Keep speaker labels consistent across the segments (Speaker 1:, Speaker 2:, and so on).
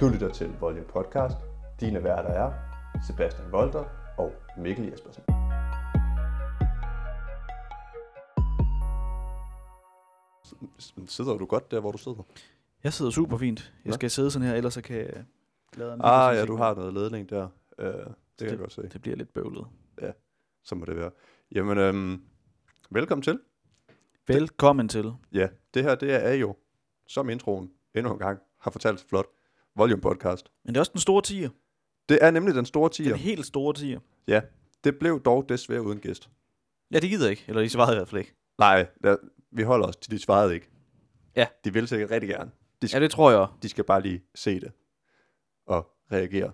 Speaker 1: Du lytter til Volume Podcast. Dine værter er Sebastian Volter og Mikkel Jespersen. Sidder du godt der, hvor du sidder?
Speaker 2: Jeg sidder super fint. Jeg
Speaker 1: Nå.
Speaker 2: skal sidde sådan her, ellers så kan jeg lade en
Speaker 1: Ah ja, du har noget ledning der. Uh, det kan jeg godt se.
Speaker 2: Det bliver lidt bøvlet.
Speaker 1: Så må det være. Jamen, øhm, velkommen til.
Speaker 2: Velkommen til.
Speaker 1: Ja, det her det er jo, som introen endnu en gang har fortalt flot, Volume Podcast.
Speaker 2: Men det er også den store tier.
Speaker 1: Det er nemlig den store tier.
Speaker 2: Den helt store tier.
Speaker 1: Det blev dog desværre uden gæst.
Speaker 2: Ja, det gider jeg ikke. Eller de svarede i hvert fald ikke.
Speaker 1: Nej, der, vi holder os til, de svarede ikke.
Speaker 2: Ja.
Speaker 1: De vil sikkert rigtig gerne.
Speaker 2: Ja, det tror jeg.
Speaker 1: De skal bare lige se det og reagere.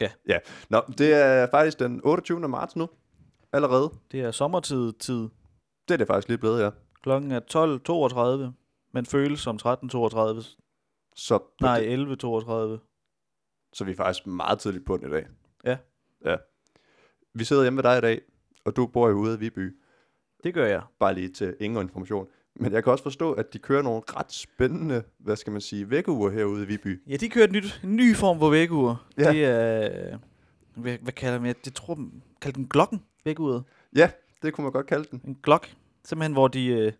Speaker 2: Ja.
Speaker 1: Ja. Nå, det er faktisk den 28. marts nu. Allerede.
Speaker 2: Det er sommertid. Tid.
Speaker 1: Det er det faktisk lige blevet, ja.
Speaker 2: Klokken er 12.32, men føles som 13.32.
Speaker 1: Så, på
Speaker 2: Nej,
Speaker 1: Det,
Speaker 2: 11.32.
Speaker 1: så vi er faktisk meget tidligt på den i dag.
Speaker 2: Ja.
Speaker 1: Ja. Vi sidder hjemme ved dig i dag, og du bor jo ude i Viby.
Speaker 2: Det gør jeg.
Speaker 1: Bare lige til ingen information. Men jeg kan også forstå, at de kører nogle ret spændende, hvad skal man sige, vækkeuger herude i Viby.
Speaker 2: Ja, de kører et nyt, en ny form for vækkeur.
Speaker 1: Ja.
Speaker 2: Ja. Det er... øh, Hvad, hvad kalder man det? Jeg tror, man kalder den klokken vækkeuret.
Speaker 1: Ja, det kunne man godt kalde den.
Speaker 2: en glok, simpelthen hvor de, øh,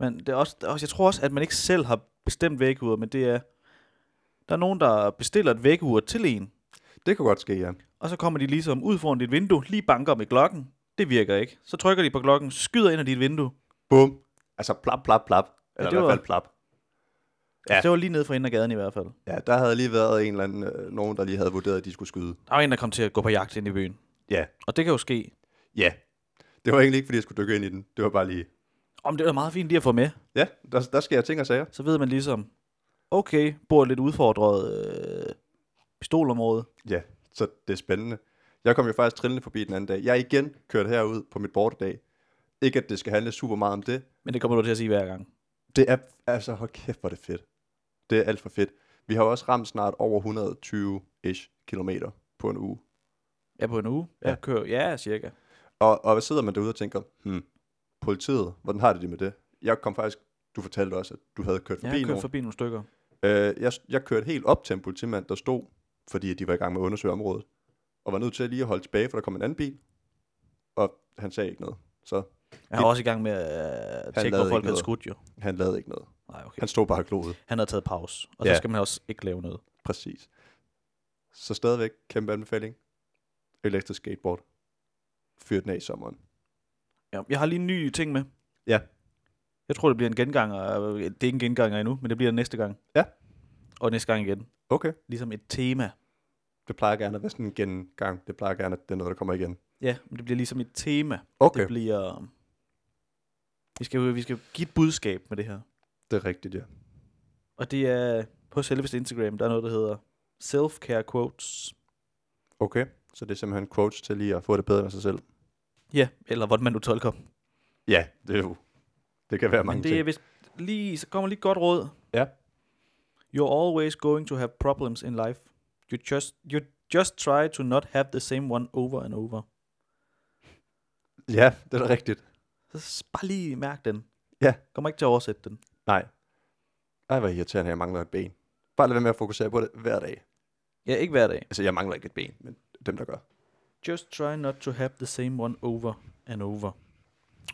Speaker 2: man, det er også, der er også, jeg tror også, at man ikke selv har bestemt vækkeuret, men det er, der er nogen, der bestiller et vækkeur til en,
Speaker 1: Det kunne godt ske, ja.
Speaker 2: og så kommer de ligesom ud foran dit vindue, lige banker med klokken, det virker ikke. Så trykker de på klokken, skyder ind ad dit vindue.
Speaker 1: Bum. Altså plap, plap, plap. Eller ja,
Speaker 2: det
Speaker 1: i hvert
Speaker 2: var-
Speaker 1: fald plap. Ja.
Speaker 2: Ja. Altså, Det var lige nede for enden af gaden i hvert fald.
Speaker 1: Ja, der havde lige været en eller anden, øh, nogen, der lige havde vurderet, at de skulle skyde.
Speaker 2: Der var en, der kom til at gå på jagt ind i byen.
Speaker 1: Ja.
Speaker 2: Og det kan jo ske.
Speaker 1: Ja. Det var egentlig ikke, fordi jeg skulle dykke ind i den. Det var bare lige...
Speaker 2: Om det er meget fint lige at få med,
Speaker 1: Ja, der, der sker ting og sager.
Speaker 2: så ved man ligesom, okay, bor et lidt udfordret øh, pistolområde.
Speaker 1: Ja, så det er spændende. Jeg kom jo faktisk trillende forbi den anden dag. Jeg er igen kørt herud på mit bortedag. Ikke, at det skal handle super meget om det.
Speaker 2: Men det kommer du til at sige hver gang.
Speaker 1: Det er... Altså, hold kæft, hvor er det fedt. Det er alt for fedt. Vi har jo også ramt snart over 120-ish kilometer på en uge.
Speaker 2: Ja, på en uge.
Speaker 1: Ja.
Speaker 2: Ja. Jeg kører, ja, cirka.
Speaker 1: Og, og hvad sidder man derude og tænker, hmm, politiet, hvordan har de det med det? Jeg kom faktisk, du fortalte også, at du havde kørt
Speaker 2: Jeg
Speaker 1: forbi
Speaker 2: har kørt
Speaker 1: nogen.
Speaker 2: forbi nogle stykker.
Speaker 1: Øh, jeg, jeg kørte helt op til en politimand, der stod, fordi at de var i gang med at undersøge området, og var nødt til lige at holde tilbage, for der kom en anden bil, og han sagde ikke noget. Så
Speaker 2: Jeg var også i gang med at øh, tjekke,
Speaker 1: lavede
Speaker 2: hvor folk
Speaker 1: ikke
Speaker 2: havde
Speaker 1: noget.
Speaker 2: skudt jo.
Speaker 1: han lavede ikke noget.
Speaker 2: Nej, okay.
Speaker 1: Han stod bare og gloede.
Speaker 2: Han havde taget pause, og
Speaker 1: Ja.
Speaker 2: så skal man også ikke lave noget.
Speaker 1: Præcis. Så stadigvæk kæmpe anbefaling. Elektrisk skateboard. Fyr den af i sommeren.
Speaker 2: Ja, jeg har lige en ny ting med.
Speaker 1: Ja.
Speaker 2: Jeg tror, det bliver en genganger. Det er ikke en genganger endnu, men det bliver næste gang.
Speaker 1: Ja.
Speaker 2: Og næste gang igen.
Speaker 1: Okay.
Speaker 2: Ligesom et tema.
Speaker 1: Det plejer gerne at være sådan en gengang. Det plejer gerne, at det er noget, der kommer igen.
Speaker 2: Ja, men det bliver ligesom et tema.
Speaker 1: Okay.
Speaker 2: Det bliver... øh, Vi skal, jo- vi skal give et budskab med det her.
Speaker 1: Det er rigtigt, ja.
Speaker 2: Og det er på selveste Instagram, der er noget, der hedder Self-Care Quotes.
Speaker 1: Okay, så det er simpelthen quotes til lige at få det bedre med sig selv.
Speaker 2: Ja, eller hvordan man nu tolker dem.
Speaker 1: Ja, det er jo... Det kan være mange
Speaker 2: Men det er
Speaker 1: ting.
Speaker 2: vist lige, så kommer lige et godt råd.
Speaker 1: Ja.
Speaker 2: You're always going to have problems in life. You just, you just try to not have the same one over and over.
Speaker 1: Ja, det er da rigtigt.
Speaker 2: Så s- bare lige mærk den.
Speaker 1: Ja.
Speaker 2: Kommer ikke til at oversætte den.
Speaker 1: Nej. Ej, hvor irriterende, at jeg mangler et ben. Bare lad være med at fokusere på det hver dag.
Speaker 2: Ja, ikke hver dag.
Speaker 1: Altså, jeg mangler ikke et ben, men dem, der gør.
Speaker 2: Just try not to have the same one over and over.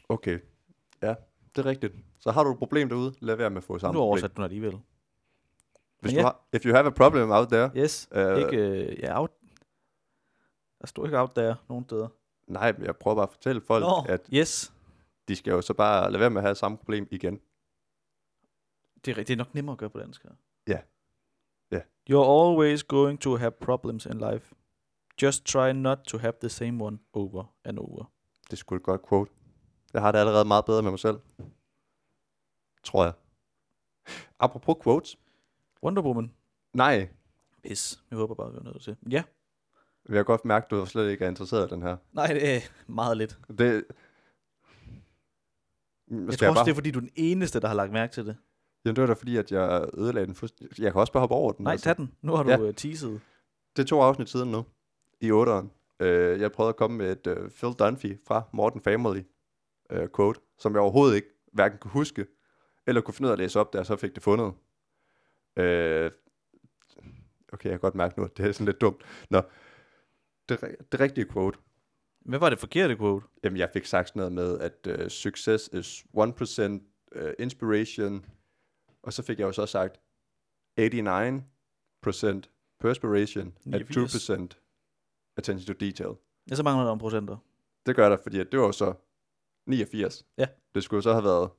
Speaker 1: Okay. Ja, det er rigtigt. Så har du et problem derude, lad være med at få samme
Speaker 2: nu
Speaker 1: problem.
Speaker 2: oversætter du den alligevel.
Speaker 1: Hvis
Speaker 2: Men
Speaker 1: du
Speaker 2: ja.
Speaker 1: har, if you have a problem out there,
Speaker 2: Yes.
Speaker 1: Øh.
Speaker 2: Øh. Ikke, øh, ja, out. Der stod ikke out der nogen steder.
Speaker 1: nej, men jeg prøver bare at fortælle folk,
Speaker 2: Nå,
Speaker 1: at
Speaker 2: yes.
Speaker 1: de skal jo så bare lade være med at have samme problem igen.
Speaker 2: Det er, ri- det er nok nemmere at gøre på dansk her.
Speaker 1: Ja. Ja.
Speaker 2: You're always going to have problems in life. Just try not to have the same one over and over.
Speaker 1: Det skulle et godt quote. Jeg har det allerede meget bedre med mig selv. Tror jeg. Apropos quotes.
Speaker 2: Wonder Woman.
Speaker 1: Nej,
Speaker 2: Hvis. Jeg håber bare, vi er nødt til. Ja.
Speaker 1: vil jeg godt mærke, at du slet ikke er interesseret i den her.
Speaker 2: Nej, det er meget lidt. Jeg
Speaker 1: Det... Jeg
Speaker 2: tror
Speaker 1: skal jeg
Speaker 2: også,
Speaker 1: bare...
Speaker 2: det er, fordi du er den eneste, der har lagt mærke til det.
Speaker 1: Jamen, det var da fordi, at jeg ødelagde den fuldstændig. Jeg kan også bare hoppe over den.
Speaker 2: Nej, tag den. Nu har du
Speaker 1: Ja.
Speaker 2: ja. teaset.
Speaker 1: Det er to afsnit siden nu, i 8'eren. Øh, jeg prøvede at komme med et øh, Phil Dunphy fra Morten Family øh, quote, som jeg overhovedet ikke hverken kunne huske, eller kunne finde ud af at læse op, da jeg så fik det fundet. Øh, okay, jeg kan godt mærke nu, at det er sådan lidt dumt. Nå, det, ri- det rigtige quote,
Speaker 2: Hvad var det forkerte quote?
Speaker 1: Jamen, jeg fik sagt sådan noget med, at uh, success is 1% uh, inspiration, og så fik jeg jo så sagt 89% perspiration and
Speaker 2: 89.
Speaker 1: 2% attention to detail.
Speaker 2: Ja, så mangler der om procenter.
Speaker 1: Det gør der, fordi at det var jo så 89.
Speaker 2: Ja.
Speaker 1: Det skulle jo så have været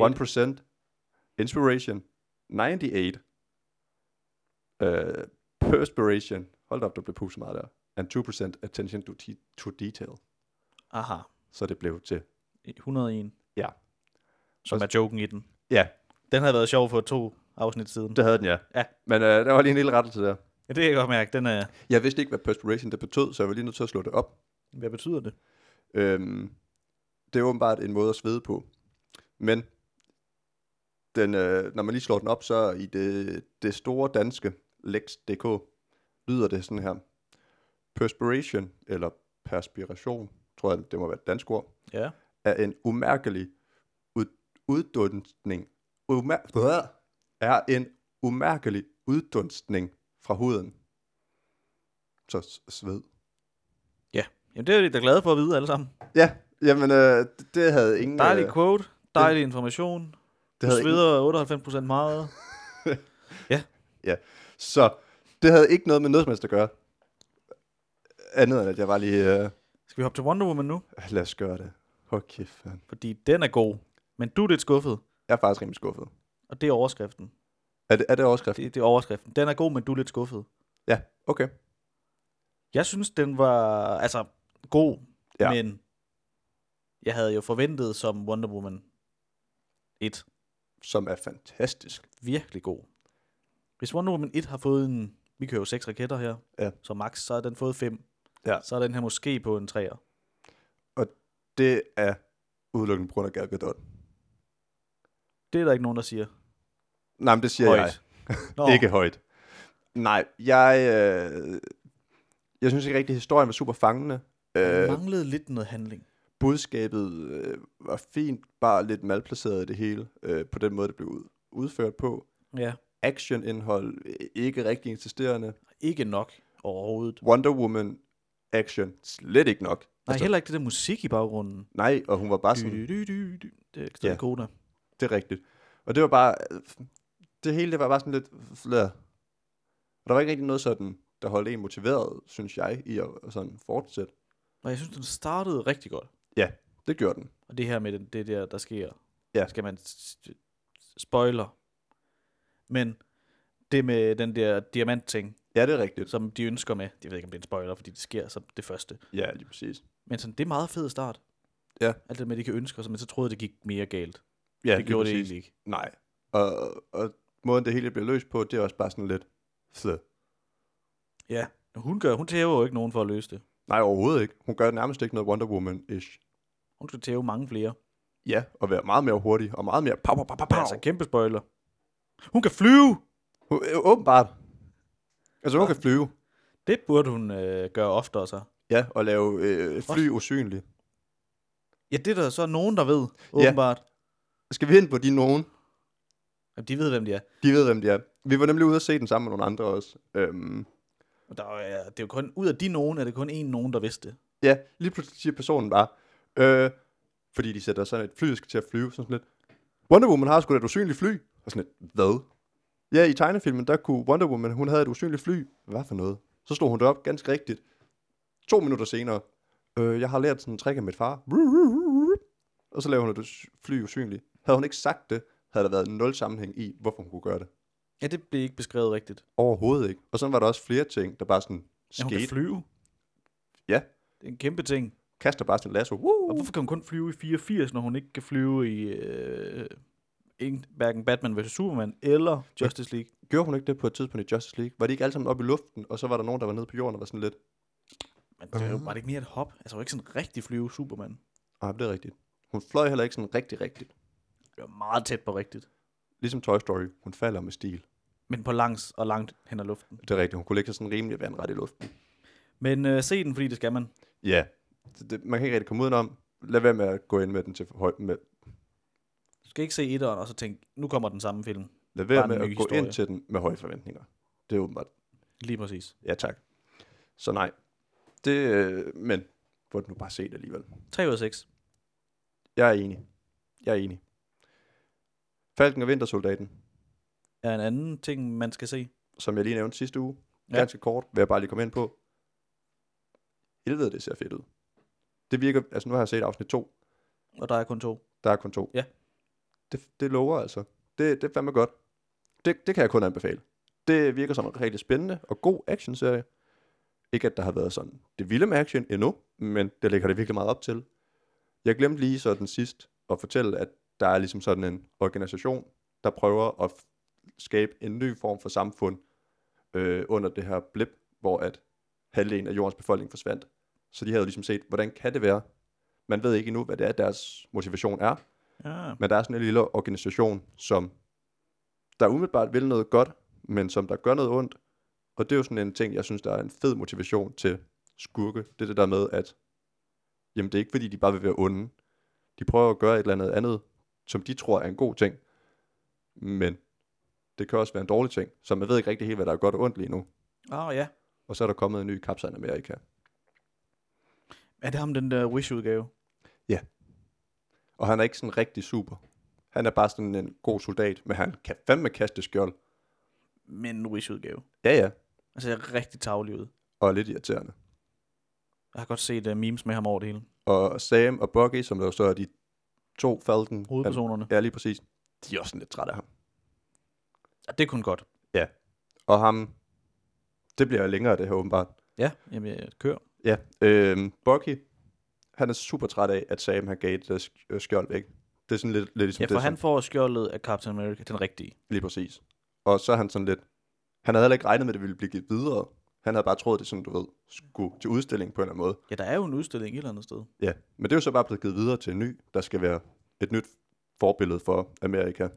Speaker 2: 98.
Speaker 1: 1% inspiration, 98 uh, perspiration, hold da op, der blev pusset meget der, and 2% attention to, de- to detail.
Speaker 2: Aha,
Speaker 1: Så det blev til
Speaker 2: 101.
Speaker 1: Ja.
Speaker 2: Som
Speaker 1: Og-
Speaker 2: er joken i den.
Speaker 1: Ja,
Speaker 2: Den havde været sjov for to afsnit siden.
Speaker 1: det havde den, ja.
Speaker 2: Ja.
Speaker 1: Men øh, der var lige en lille rettelse der.
Speaker 2: Ja, det kan jeg godt mærke. Den er,
Speaker 1: Jeg vidste ikke, hvad perspiration det betød, så jeg var lige nødt til at slå det op.
Speaker 2: hvad betyder det?
Speaker 1: Øhm, det er åbenbart en måde at svede på. Men den, øh, når man lige slår den op, så i det, det store danske Lex.dk lyder det sådan her. Perspiration, eller perspiration, tror jeg, det må være et dansk ord,
Speaker 2: Ja.
Speaker 1: er en umærkelig ud, uddunstning. Umær, Blah! er en umærkelig uddunstning fra huden. Så s- sved.
Speaker 2: Jamen, det er vi da glade for at vide alle sammen.
Speaker 1: Ja, jamen øh, det- det havde ingen...
Speaker 2: Dejlig
Speaker 1: øh,
Speaker 2: quote, dejlig information. Du
Speaker 1: det havde ingen,
Speaker 2: sveder 98% meget.
Speaker 1: så det havde ikke noget med noget som helst at gøre. Andet end at jeg var lige... Øh,
Speaker 2: Skal vi hoppe til Wonder Woman nu?
Speaker 1: lad os gøre det. Hvor kæft, mand.
Speaker 2: Fordi den er god. Men du er lidt skuffet,
Speaker 1: Jeg er faktisk rimelig skuffet.
Speaker 2: og det er overskriften.
Speaker 1: Er det, er det overskriften?
Speaker 2: Det, det er overskriften. Den er god, men du er lidt skuffet.
Speaker 1: Ja, okay.
Speaker 2: Jeg synes, den var altså god,
Speaker 1: Ja.
Speaker 2: ja. men jeg havde jo forventet som Wonder Woman 1
Speaker 1: Som er fantastisk.
Speaker 2: virkelig god. Hvis Wonder Woman 1 har fået en, vi kører jo seks raketter her,
Speaker 1: Ja.
Speaker 2: så max, så har den fået fem.
Speaker 1: Ja.
Speaker 2: Så er den her måske på en træer.
Speaker 1: Det er udelukkende på grund af Gal Gadot.
Speaker 2: Det er der ikke nogen, der siger.
Speaker 1: Nej, men det siger Højt. jeg.
Speaker 2: Nå,
Speaker 1: Ikke højt. Nej, jeg, øh, jeg synes ikke rigtig, at historien var super fangende.
Speaker 2: øh...
Speaker 1: Øh,
Speaker 2: manglede lidt noget handling.
Speaker 1: budskabet øh, var fint, bare lidt malplaceret i det hele, øh, på den måde, det blev ud, udført på.
Speaker 2: Ja.
Speaker 1: Action-indhold, øh, ikke rigtig insisterende.
Speaker 2: Ikke nok overhovedet.
Speaker 1: Wonder Woman action, slet ikke nok.
Speaker 2: Nej, heller ikke det der musik i baggrunden.
Speaker 1: nej, og hun var bare sådan,
Speaker 2: Du, du, du, du. Det er stadig
Speaker 1: Altså- Ja.
Speaker 2: ja. koda.
Speaker 1: det er rigtigt. Og det var bare, øh, det hele det var bare sådan lidt, ja. og der var ikke rigtig noget sådan, der holdt en motiveret, synes jeg, i at sådan fortsætte.
Speaker 2: Og jeg synes, den startede rigtig godt.
Speaker 1: Det gjorde den.
Speaker 2: Og det her med det, det der, der sker,
Speaker 1: Ja.
Speaker 2: skal man s- s- spoiler. Men det med den der diamant-ting,
Speaker 1: Ja, det er rigtigt.
Speaker 2: som de ønsker med, jeg ved ikke, om det er en spoiler, fordi det sker som det første.
Speaker 1: Ja, lige præcis.
Speaker 2: Men sådan, det er meget fed start.
Speaker 1: Ja.
Speaker 2: Alt det med, de kan ønske sig, men så troede jeg, det gik mere galt.
Speaker 1: Ja,
Speaker 2: det gjorde det egentlig ikke.
Speaker 1: Nej. Og, og måden, det hele bliver løst på, det er også bare sådan lidt... Så.
Speaker 2: Ja. Hun, gør, hun tæver jo ikke nogen for at løse det.
Speaker 1: Nej, overhovedet ikke. Hun gør nærmest ikke noget Wonder Woman-ish.
Speaker 2: Hun skal tæve mange flere.
Speaker 1: Ja, og være meget mere hurtig, og meget mere... Pow, pow, pow, pow,
Speaker 2: Wow.
Speaker 1: pow.
Speaker 2: Altså, kæmpe spoiler. Hun kan flyve!
Speaker 1: Hun- øh, Åbenbart. Altså, hun kan flyve.
Speaker 2: Det burde hun øh, gøre oftere så.
Speaker 1: Ja, og lave øh, fly usynlig.
Speaker 2: Ja, det er der så nogen, der ved, åbenbart. Ja.
Speaker 1: Skal vi ind på de nogen?
Speaker 2: Jamen, de ved, hvem de er.
Speaker 1: De ved, hvem de er. Vi var nemlig ude og se den sammen med nogle andre også. Øhm,
Speaker 2: Og der er, det er jo kun, ud af de nogen, er det kun én nogen, der vidste det.
Speaker 1: ja, lige pludselig siger personen bare... Øh, fordi de sætter sådan et fly, der skal til at flyve, sådan lidt. Wonder Woman har sgu da et usynligt fly. Og sådan lidt, hvad? Ja, i tegnefilmen, der kunne Wonder Woman, hun havde et usynligt fly. Hvad for noget? Så slog hun det op, ganske rigtigt. To minutter senere, øh, jeg har lært sådan en trick af mit far. Og så laver hun et us- fly usynligt. Havde hun ikke sagt det, havde der været nul sammenhæng i, hvorfor hun kunne gøre det.
Speaker 2: Ja, det blev ikke beskrevet rigtigt.
Speaker 1: Overhovedet ikke. Og sådan var der også flere ting, der bare sådan
Speaker 2: Ja, hun kan
Speaker 1: skete.
Speaker 2: flyve.
Speaker 1: Ja,
Speaker 2: Det er en kæmpe ting.
Speaker 1: kaster bare sin lasso.
Speaker 2: Og
Speaker 1: Woo!
Speaker 2: hvorfor kan hun kun flyve i 84, når hun ikke kan flyve i øh, ingen, hverken Batman vs. Superman eller Justice League?
Speaker 1: Gjorde hun ikke det på et tidspunkt i Justice League? Var de ikke alle sammen oppe i luften, og så var der nogen, der var nede på jorden og var sådan lidt,
Speaker 2: Men det er jo, var det ikke mere et hop? Altså, hun er ikke sådan rigtig flyve Superman.
Speaker 1: nej, det er rigtigt. Hun fløj heller ikke sådan rigtig rigtigt.
Speaker 2: Det var meget tæt på rigtigt.
Speaker 1: Ligesom Toy Story, hun falder med stil.
Speaker 2: Men på langs og langt hen ad luften.
Speaker 1: Det er rigtigt, hun kunne lægge sig sådan rimelig vandret i luften.
Speaker 2: Men øh, se den, fordi det skal man.
Speaker 1: Ja, det, det, man kan ikke rigtig komme udenom. Lad være med at gå ind med den til høj med.
Speaker 2: Du skal ikke se etteren og så tænke, nu kommer den samme film.
Speaker 1: Lad
Speaker 2: Bare
Speaker 1: være
Speaker 2: en
Speaker 1: med at gå
Speaker 2: ny historie.
Speaker 1: ind til den med høje forventninger. Det er åbenbart.
Speaker 2: Lige præcis.
Speaker 1: Ja, tak. Så nej. Det, øh, men få den nu bare set alligevel.
Speaker 2: 3 ud af 6.
Speaker 1: Jeg er enig. Jeg er enig. Falken og Vintersoldaten,
Speaker 2: Er en anden ting, man skal se.
Speaker 1: som jeg lige nævnte sidste uge,
Speaker 2: Ja.
Speaker 1: ganske kort, vil jeg bare lige komme ind på. Helvede, det ser fedt ud. Det virker, altså nu har jeg set afsnit 2,
Speaker 2: Og der er kun to.
Speaker 1: der er kun to.
Speaker 2: Ja.
Speaker 1: Det, det lover altså. Det, det er fandme godt. Det, det kan jeg kun anbefale. Det virker som en rigtig spændende og god actionserie. Ikke at der har været sådan det vilde med action endnu, men det lægger det virkelig meget op til. Jeg glemte lige så den sidst at fortælle, at der er ligesom sådan en organisation, der prøver at f- skabe en ny form for samfund øh, under det her blip, hvor at halvdelen af jordens befolkning forsvandt. Så de havde jo ligesom set, hvordan kan det være? Man ved ikke endnu, hvad det er, deres motivation er,
Speaker 2: Ja.
Speaker 1: men der er sådan en lille organisation, som der umiddelbart vil noget godt, men som der gør noget ondt. Og det er jo sådan en ting, jeg synes, der er en fed motivation til skurke. Det er det der med, at jamen, det er ikke fordi, de bare vil være onde. De prøver at gøre et eller andet andet, som de tror er en god ting. Men det kan også være en dårlig ting, så man ved ikke rigtig helt, hvad der er godt og ondt lige nu.
Speaker 2: Åh, oh, ja.
Speaker 1: Og så er der kommet en ny Captain America.
Speaker 2: Er det ham, den der Wish-udgave?
Speaker 1: Og han er ikke sådan rigtig super. Han er bare sådan en god soldat, men han kan fandme kaste skjold.
Speaker 2: Men en Wish-udgave.
Speaker 1: Ja, ja.
Speaker 2: Altså, jeg er rigtig tavlig ud.
Speaker 1: Og er lidt irriterende.
Speaker 2: Jeg har godt set uh, memes med ham over det hele.
Speaker 1: Og Sam og Bucky, som der jo så er de to Falcon.
Speaker 2: Hovedpersonerne.
Speaker 1: Ja, lige præcis. De er også sådan lidt trætte af ham.
Speaker 2: Ja. Det er kun godt.
Speaker 1: Og ham, det bliver jo længere det her åbenbart.
Speaker 2: Ja, jamen, øh, jeg kører.
Speaker 1: Ja, øhm, Bucky, han er super træt af, at Sam han gav det der sk- øh, skjold væk. Det er sådan lidt, lidt ligesom
Speaker 2: Ja, for
Speaker 1: det,
Speaker 2: han
Speaker 1: som,
Speaker 2: får skjoldet af Captain America, den rigtige.
Speaker 1: lige præcis. Og så er han sådan lidt, han havde heller ikke regnet med, at det ville blive givet videre. Han havde bare troet, det sådan, du ved, skulle til udstilling på en eller anden måde.
Speaker 2: Ja, der er jo en udstilling et eller andet sted.
Speaker 1: Ja, men det er jo så bare blevet givet videre til en ny, der skal være et nyt forbillede for Amerika.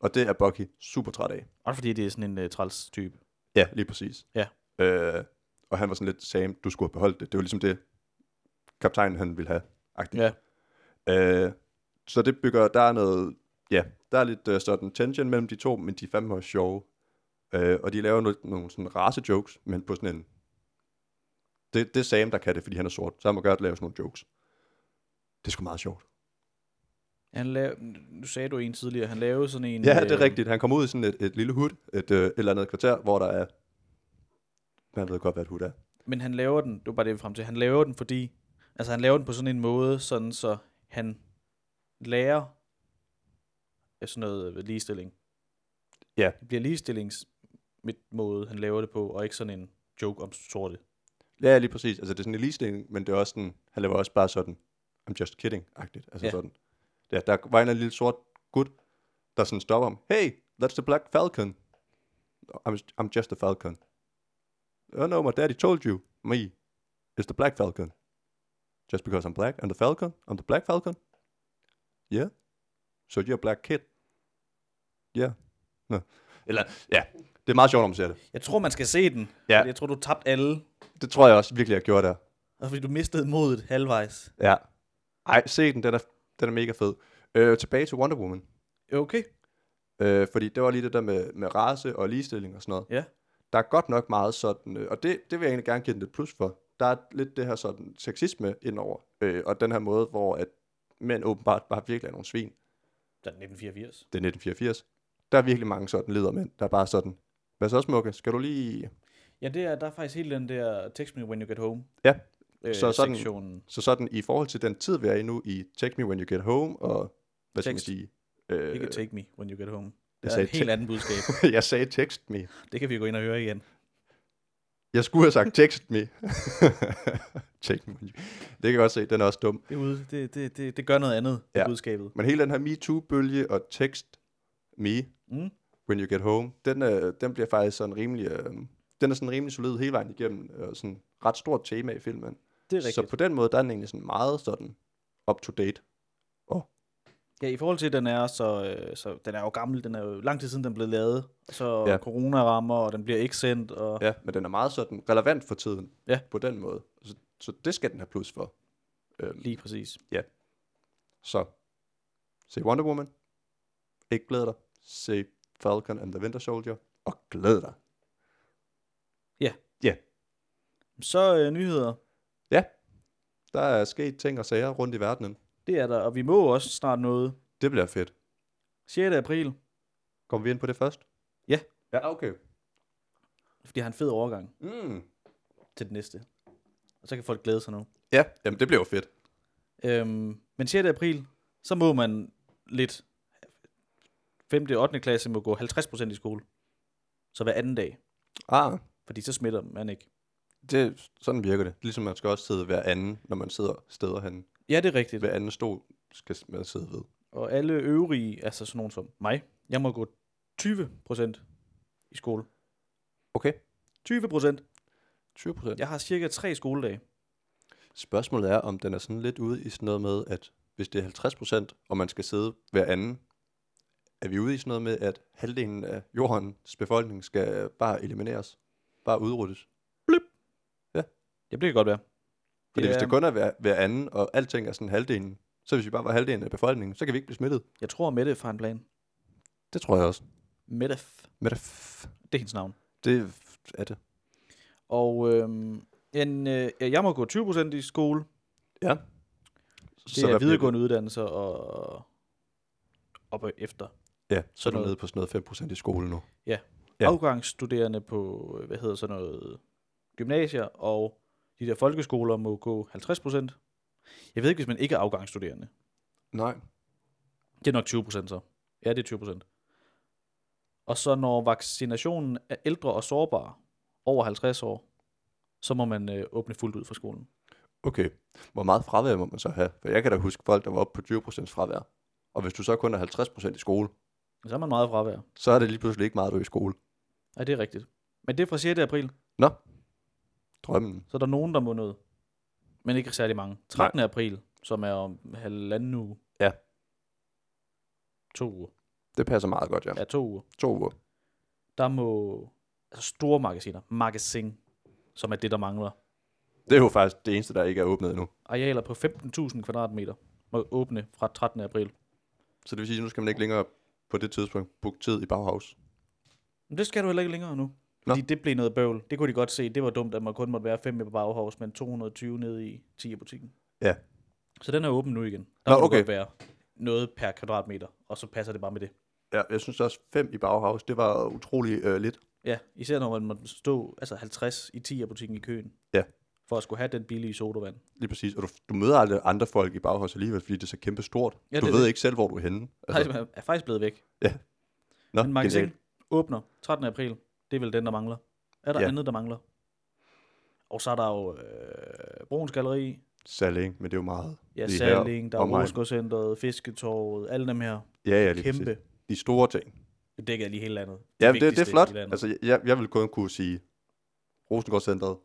Speaker 1: Og det er Bucky super træt af.
Speaker 2: Også fordi det er sådan en uh, træls type.
Speaker 1: Ja, lige præcis.
Speaker 2: Ja.
Speaker 1: Øh, og han var sådan lidt, Sam, du skulle have beholdt det. Det var ligesom det, kaptajnen han ville have. Agtigt.
Speaker 2: Ja.
Speaker 1: Øh, så det bygger, der er noget, ja, der er lidt uh, sådan tension mellem de to, men de er fandme også sjove. Øh, og de laver noget, nogle sådan race jokes, men på sådan en, det, det er Sam, der kan det, fordi han er sort. Så han må godt lave sådan nogle jokes. Det er sgu meget sjovt.
Speaker 2: Han lav... Nu sagde du en tidligere, han lavede sådan en...
Speaker 1: Ja, det
Speaker 2: øh,
Speaker 1: er rigtigt. Han kommer ud i sådan et, et lille hud, et, øh, et eller andet kvarter, hvor der er, man ved godt, hvad et hud er.
Speaker 2: Men han laver den, det var bare det, jeg ville frem til. Han laver den, fordi... Altså, han laver den på sådan en måde, sådan så han lærer af sådan noget øh, ligestilling.
Speaker 1: Ja.
Speaker 2: Det bliver ligestillings mit måde, han laver det på, og ikke sådan en joke om sorte.
Speaker 1: Ja, lige præcis. Altså, det er sådan en ligestilling, men det er også sådan, han laver også bare sådan, I'm just kidding-agtigt. Altså
Speaker 2: Ja.
Speaker 1: ja. sådan. Ja, der var en eller anden lille sort gut, der sådan stopper ham. Hey, that's the black falcon. I'm, I'm just a falcon. Oh no, my daddy told you, me, is the black falcon. Just because I'm black, I'm the falcon, I'm the black falcon. Yeah, so you're a black kid. Yeah. No. Eller, ja, det er meget sjovt, når man ser det.
Speaker 2: Jeg tror, man skal se den.
Speaker 1: Ja.
Speaker 2: fordi Jeg tror, du tabte alle,
Speaker 1: Det tror jeg også virkelig, jeg gjorde der.
Speaker 2: og fordi du mistede modet halvvejs.
Speaker 1: Ja. Ej, se den, den er, den er mega fed. Øh, tilbage til Wonder Woman.
Speaker 2: Okay.
Speaker 1: Øh, fordi det var lige det der med, med race og ligestilling og sådan noget.
Speaker 2: Ja.
Speaker 1: Der er godt nok meget sådan, øh, og det, det vil jeg egentlig gerne give den et plus for. Der er lidt det her sådan sexisme indover, øh, og den her måde, hvor at mænd åbenbart bare virkelig er nogle svin.
Speaker 2: Der er 1984.
Speaker 1: Det er 1984. Der er virkelig mange sådan ledermænd, der er bare sådan, hvad så smukke, skal du lige...
Speaker 2: Ja, det er, der er faktisk hele den der Text Me When You Get Home.
Speaker 1: Ja.
Speaker 2: Øh,
Speaker 1: Så sådan-
Speaker 2: Sektionen.
Speaker 1: Så sådan i forhold til den tid, vi er i nu i Take Me When You Get Home, og hvad skal man
Speaker 2: Tekst.
Speaker 1: sige? Øh,
Speaker 2: Ikke Take Me When You Get Home.
Speaker 1: jeg
Speaker 2: Det er
Speaker 1: sagde
Speaker 2: et helt andet budskab.
Speaker 1: jeg sagde Text Me.
Speaker 2: Det kan vi gå ind og høre igen.
Speaker 1: Jeg skulle have sagt, text me. Check me. Det kan jeg godt se, den er også dum.
Speaker 2: Det, er ude, det, det, det, det gør noget andet, ja.
Speaker 1: Ja.
Speaker 2: budskabet.
Speaker 1: Men hele den her MeToo-bølge og text me,
Speaker 2: Mm.
Speaker 1: when you get home, den, øh, den bliver faktisk sådan rimelig, øh, den er sådan rimelig solid hele vejen igennem, øh, sådan ret stort tema i filmen.
Speaker 2: Det er rigtigt.
Speaker 1: Så på den måde, der er den egentlig sådan meget sådan up-to-date.
Speaker 2: Ja, i forhold til, at den er, så, øh, så den er jo gammel. Den er jo lang tid siden, den blev lavet. Så ja.
Speaker 1: Ja.
Speaker 2: corona rammer, og den bliver ikke sendt. Og...
Speaker 1: Ja, men den er meget sådan relevant for tiden.
Speaker 2: Ja.
Speaker 1: På den måde. Så, så det skal den have plus for. Øhm,
Speaker 2: Lige præcis.
Speaker 1: Så, se Wonder Woman. Ikke glæder dig. Se Falcon and the Winter Soldier, og glæd dig.
Speaker 2: Så øh, nyheder.
Speaker 1: Der er sket ting og sager rundt i verdenen.
Speaker 2: Det er der, og vi må også snart noget.
Speaker 1: Det bliver fedt.
Speaker 2: 6. april,
Speaker 1: Kommer vi ind på det først?
Speaker 2: Ja.
Speaker 1: Ja, okay.
Speaker 2: fordi jeg har en fed overgang
Speaker 1: Mm.
Speaker 2: til det næste. Og så kan folk glæde sig nu.
Speaker 1: Ja, jamen det bliver jo fedt.
Speaker 2: Øhm, men 6. april, så må man lidt. 5. og 8. klasse må gå 50% i skole. Så hver anden dag,
Speaker 1: Ah,
Speaker 2: fordi så smitter man ikke.
Speaker 1: det, sådan virker det. Ligesom man skal også sidde hver anden, når man sidder steder hen.
Speaker 2: Ja, det er rigtigt.
Speaker 1: Hver anden stol skal man sidde ved.
Speaker 2: Og alle øvrige, altså sådan nogen som mig, jeg må gå 20% i skole.
Speaker 1: Okay.
Speaker 2: 20%.
Speaker 1: 20 procent.
Speaker 2: Jeg har cirka tre skoledage.
Speaker 1: Spørgsmålet er, om den er sådan lidt ude i sådan noget med, at hvis det er 50 procent, og man skal sidde hver anden, er vi ude i sådan noget med, at halvdelen af jordens befolkning skal bare elimineres? Bare udryddes?
Speaker 2: Det bliver godt være.
Speaker 1: Fordi
Speaker 2: Det
Speaker 1: hvis
Speaker 2: er-
Speaker 1: det kun er hver, hver anden, og alting er sådan halvdelen, så hvis vi bare var halvdelen af befolkningen, så kan vi ikke blive smittet.
Speaker 2: Jeg tror, Mette fra en plan.
Speaker 1: Det tror jeg også.
Speaker 2: Mette, F.
Speaker 1: Men det, f-
Speaker 2: det er hendes navn.
Speaker 1: det f- er det.
Speaker 2: Og øhm, en, øh, ja, jeg må gå 20% i skole. Det så
Speaker 1: hvad
Speaker 2: er
Speaker 1: bliver
Speaker 2: videregående uddannelser og op og efter.
Speaker 1: Ja, så er du
Speaker 2: noget.
Speaker 1: nede på sådan noget 5% i skole nu. Ja.
Speaker 2: Ja. Afgangsstuderende på, øh, hvad hedder sådan noget, gymnasier og de der folkeskoler må gå 50%. Jeg ved ikke, hvis man ikke er afgangsstuderende.
Speaker 1: Nej.
Speaker 2: Det er nok 20 procent så. Ja, det er 20 procent. Og så når vaccinationen er ældre og sårbare over 50 år, så må man øh, åbne fuldt ud for skolen.
Speaker 1: Okay. Hvor meget fravær må man så have? For jeg kan da huske folk, der var oppe på 20% fravær. Og hvis du så kun er 50% i skole,
Speaker 2: Så er man meget fravær.
Speaker 1: så er det lige pludselig ikke meget, du er i skole.
Speaker 2: Ja, det er rigtigt. Men det er fra 6. april,
Speaker 1: Drømmen.
Speaker 2: så er der nogen, der må noget. Men ikke særlig mange. 13. Nej. april, som er om halvanden uge.
Speaker 1: Ja.
Speaker 2: To uger.
Speaker 1: Det passer meget godt, ja.
Speaker 2: Ja, to uger.
Speaker 1: To uger.
Speaker 2: Der må altså store magasiner, magasin, som er det, der mangler.
Speaker 1: Det er jo faktisk det eneste, der ikke er åbnet endnu.
Speaker 2: Arealer på 15.000 kvadratmeter må åbne fra 13. april.
Speaker 1: Så det vil sige, at nu skal man ikke længere på det tidspunkt booke tid i Bauhaus.
Speaker 2: Men det skal du heller ikke længere nu. Fordi Nå. det blev noget bøvl. Det kunne de godt se. Det var dumt, at man kun måtte være 5 på Bauhaus, men 220 nede i 10 i butikken.
Speaker 1: Ja.
Speaker 2: Så den er åben nu igen. Der
Speaker 1: Nå,
Speaker 2: Nå, må
Speaker 1: okay.
Speaker 2: okay. godt være noget per kvadratmeter, og så passer det bare med det.
Speaker 1: Ja, jeg synes også, fem i Bauhaus, det var utrolig øh, lidt.
Speaker 2: Ja, især når man måtte stå altså 50 i 10 i butikken i køen.
Speaker 1: Ja.
Speaker 2: For at skulle have den billige sodavand.
Speaker 1: Lige præcis. Og du, du møder aldrig andre folk i Bauhaus alligevel, fordi det er så kæmpe stort.
Speaker 2: Ja,
Speaker 1: Ja, du
Speaker 2: det er
Speaker 1: ved
Speaker 2: det.
Speaker 1: ikke selv, hvor du er henne.
Speaker 2: Altså. Nej, man er faktisk blevet væk.
Speaker 1: nå,
Speaker 2: men magasin
Speaker 1: genialt.
Speaker 2: åbner 13. april. Det er vel den, der mangler. Er der
Speaker 1: Ja.
Speaker 2: ja. andet, der mangler? Og så er der jo øh, Bruns Galeri,
Speaker 1: Salling, men det er jo meget.
Speaker 2: ja,
Speaker 1: Lige her
Speaker 2: Salling, der er
Speaker 1: omegn.
Speaker 2: Rosgaardcenteret, Fisketorvet, alle dem her.
Speaker 1: Ja, ja, lige præcis.
Speaker 2: kæmpe.
Speaker 1: De store ting.
Speaker 2: Det dækker lige hele landet.
Speaker 1: Ja, det, det er
Speaker 2: vigtigste
Speaker 1: flot.
Speaker 2: i landet.
Speaker 1: Altså, jeg- jeg, jeg vil kun kunne sige Rosengårdscentret,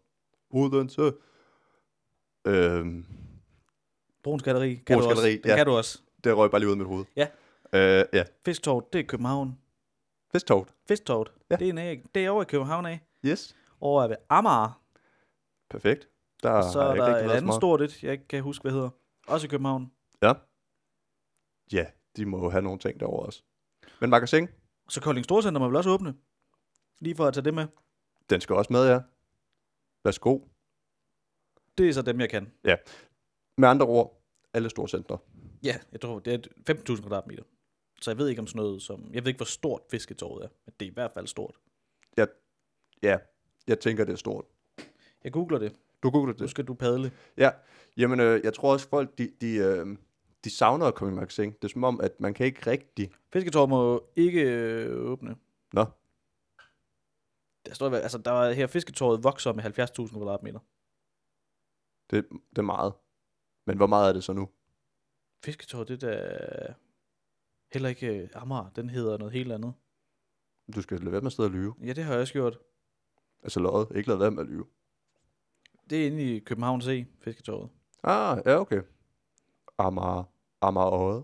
Speaker 1: Odense, øhm,
Speaker 2: Bruns Galeri kan
Speaker 1: Bruuns
Speaker 2: du også.
Speaker 1: Galleri,
Speaker 2: Den
Speaker 1: ja.
Speaker 2: kan du også.
Speaker 1: det røg bare lige ud af mit hoved.
Speaker 2: Ja.
Speaker 1: Øh, ja,
Speaker 2: Fisktorvet, det er København.
Speaker 1: Festtog.
Speaker 2: Fisktorvet,
Speaker 1: Ja.
Speaker 2: ja. det, er nær- det er over i København af.
Speaker 1: Yes.
Speaker 2: Over ved Amager.
Speaker 1: Perfekt. Der
Speaker 2: Og så
Speaker 1: har
Speaker 2: er
Speaker 1: Ah, jeg ikke
Speaker 2: der
Speaker 1: rigtig
Speaker 2: et
Speaker 1: været
Speaker 2: andet
Speaker 1: så meget.
Speaker 2: stort et, jeg ikke kan huske, hvad hedder. Også i København.
Speaker 1: Ja, de må jo have nogle ting derovre også. Men magasin,
Speaker 2: Og så Kolding Storcenter må vel også åbne. Lige for at tage det med.
Speaker 1: den skal også med, ja. Værsgo.
Speaker 2: Det er så dem, jeg kan.
Speaker 1: Med andre ord, alle store centre.
Speaker 2: Ja, jeg tror, det er et 15.000 kvadratmeter. Så jeg ved ikke om sådan noget som... Jeg ved ikke, hvor stort fisketorvet er, men det er i hvert fald stort.
Speaker 1: Ja, jeg tænker, det er stort.
Speaker 2: Jeg googler det.
Speaker 1: Du googler
Speaker 2: Nu
Speaker 1: det.
Speaker 2: skal du padle.
Speaker 1: Jamen, øh, jeg tror også, folk, de, de, øh, de savner at komme i magasin. Det er som om, at man kan ikke rigtig
Speaker 2: Fisketorvet må ikke øh, åbne.
Speaker 1: Nå.
Speaker 2: Der står, altså, der var her, fisketåret vokser med 70.000 kvadratmeter.
Speaker 1: Det, det er meget. Men hvor meget er det så nu?
Speaker 2: Fisketåret, det der... Heller ikke øh, Amager, den hedder noget helt andet.
Speaker 1: Du skal lade være med at sidde og lyve.
Speaker 2: Ja, det har jeg også gjort.
Speaker 1: Altså løjet. Ikke lade være med at lyve.
Speaker 2: Det er inde i København C, fisketåret.
Speaker 1: Ah, ja, okay. Amager. Amager Øjet.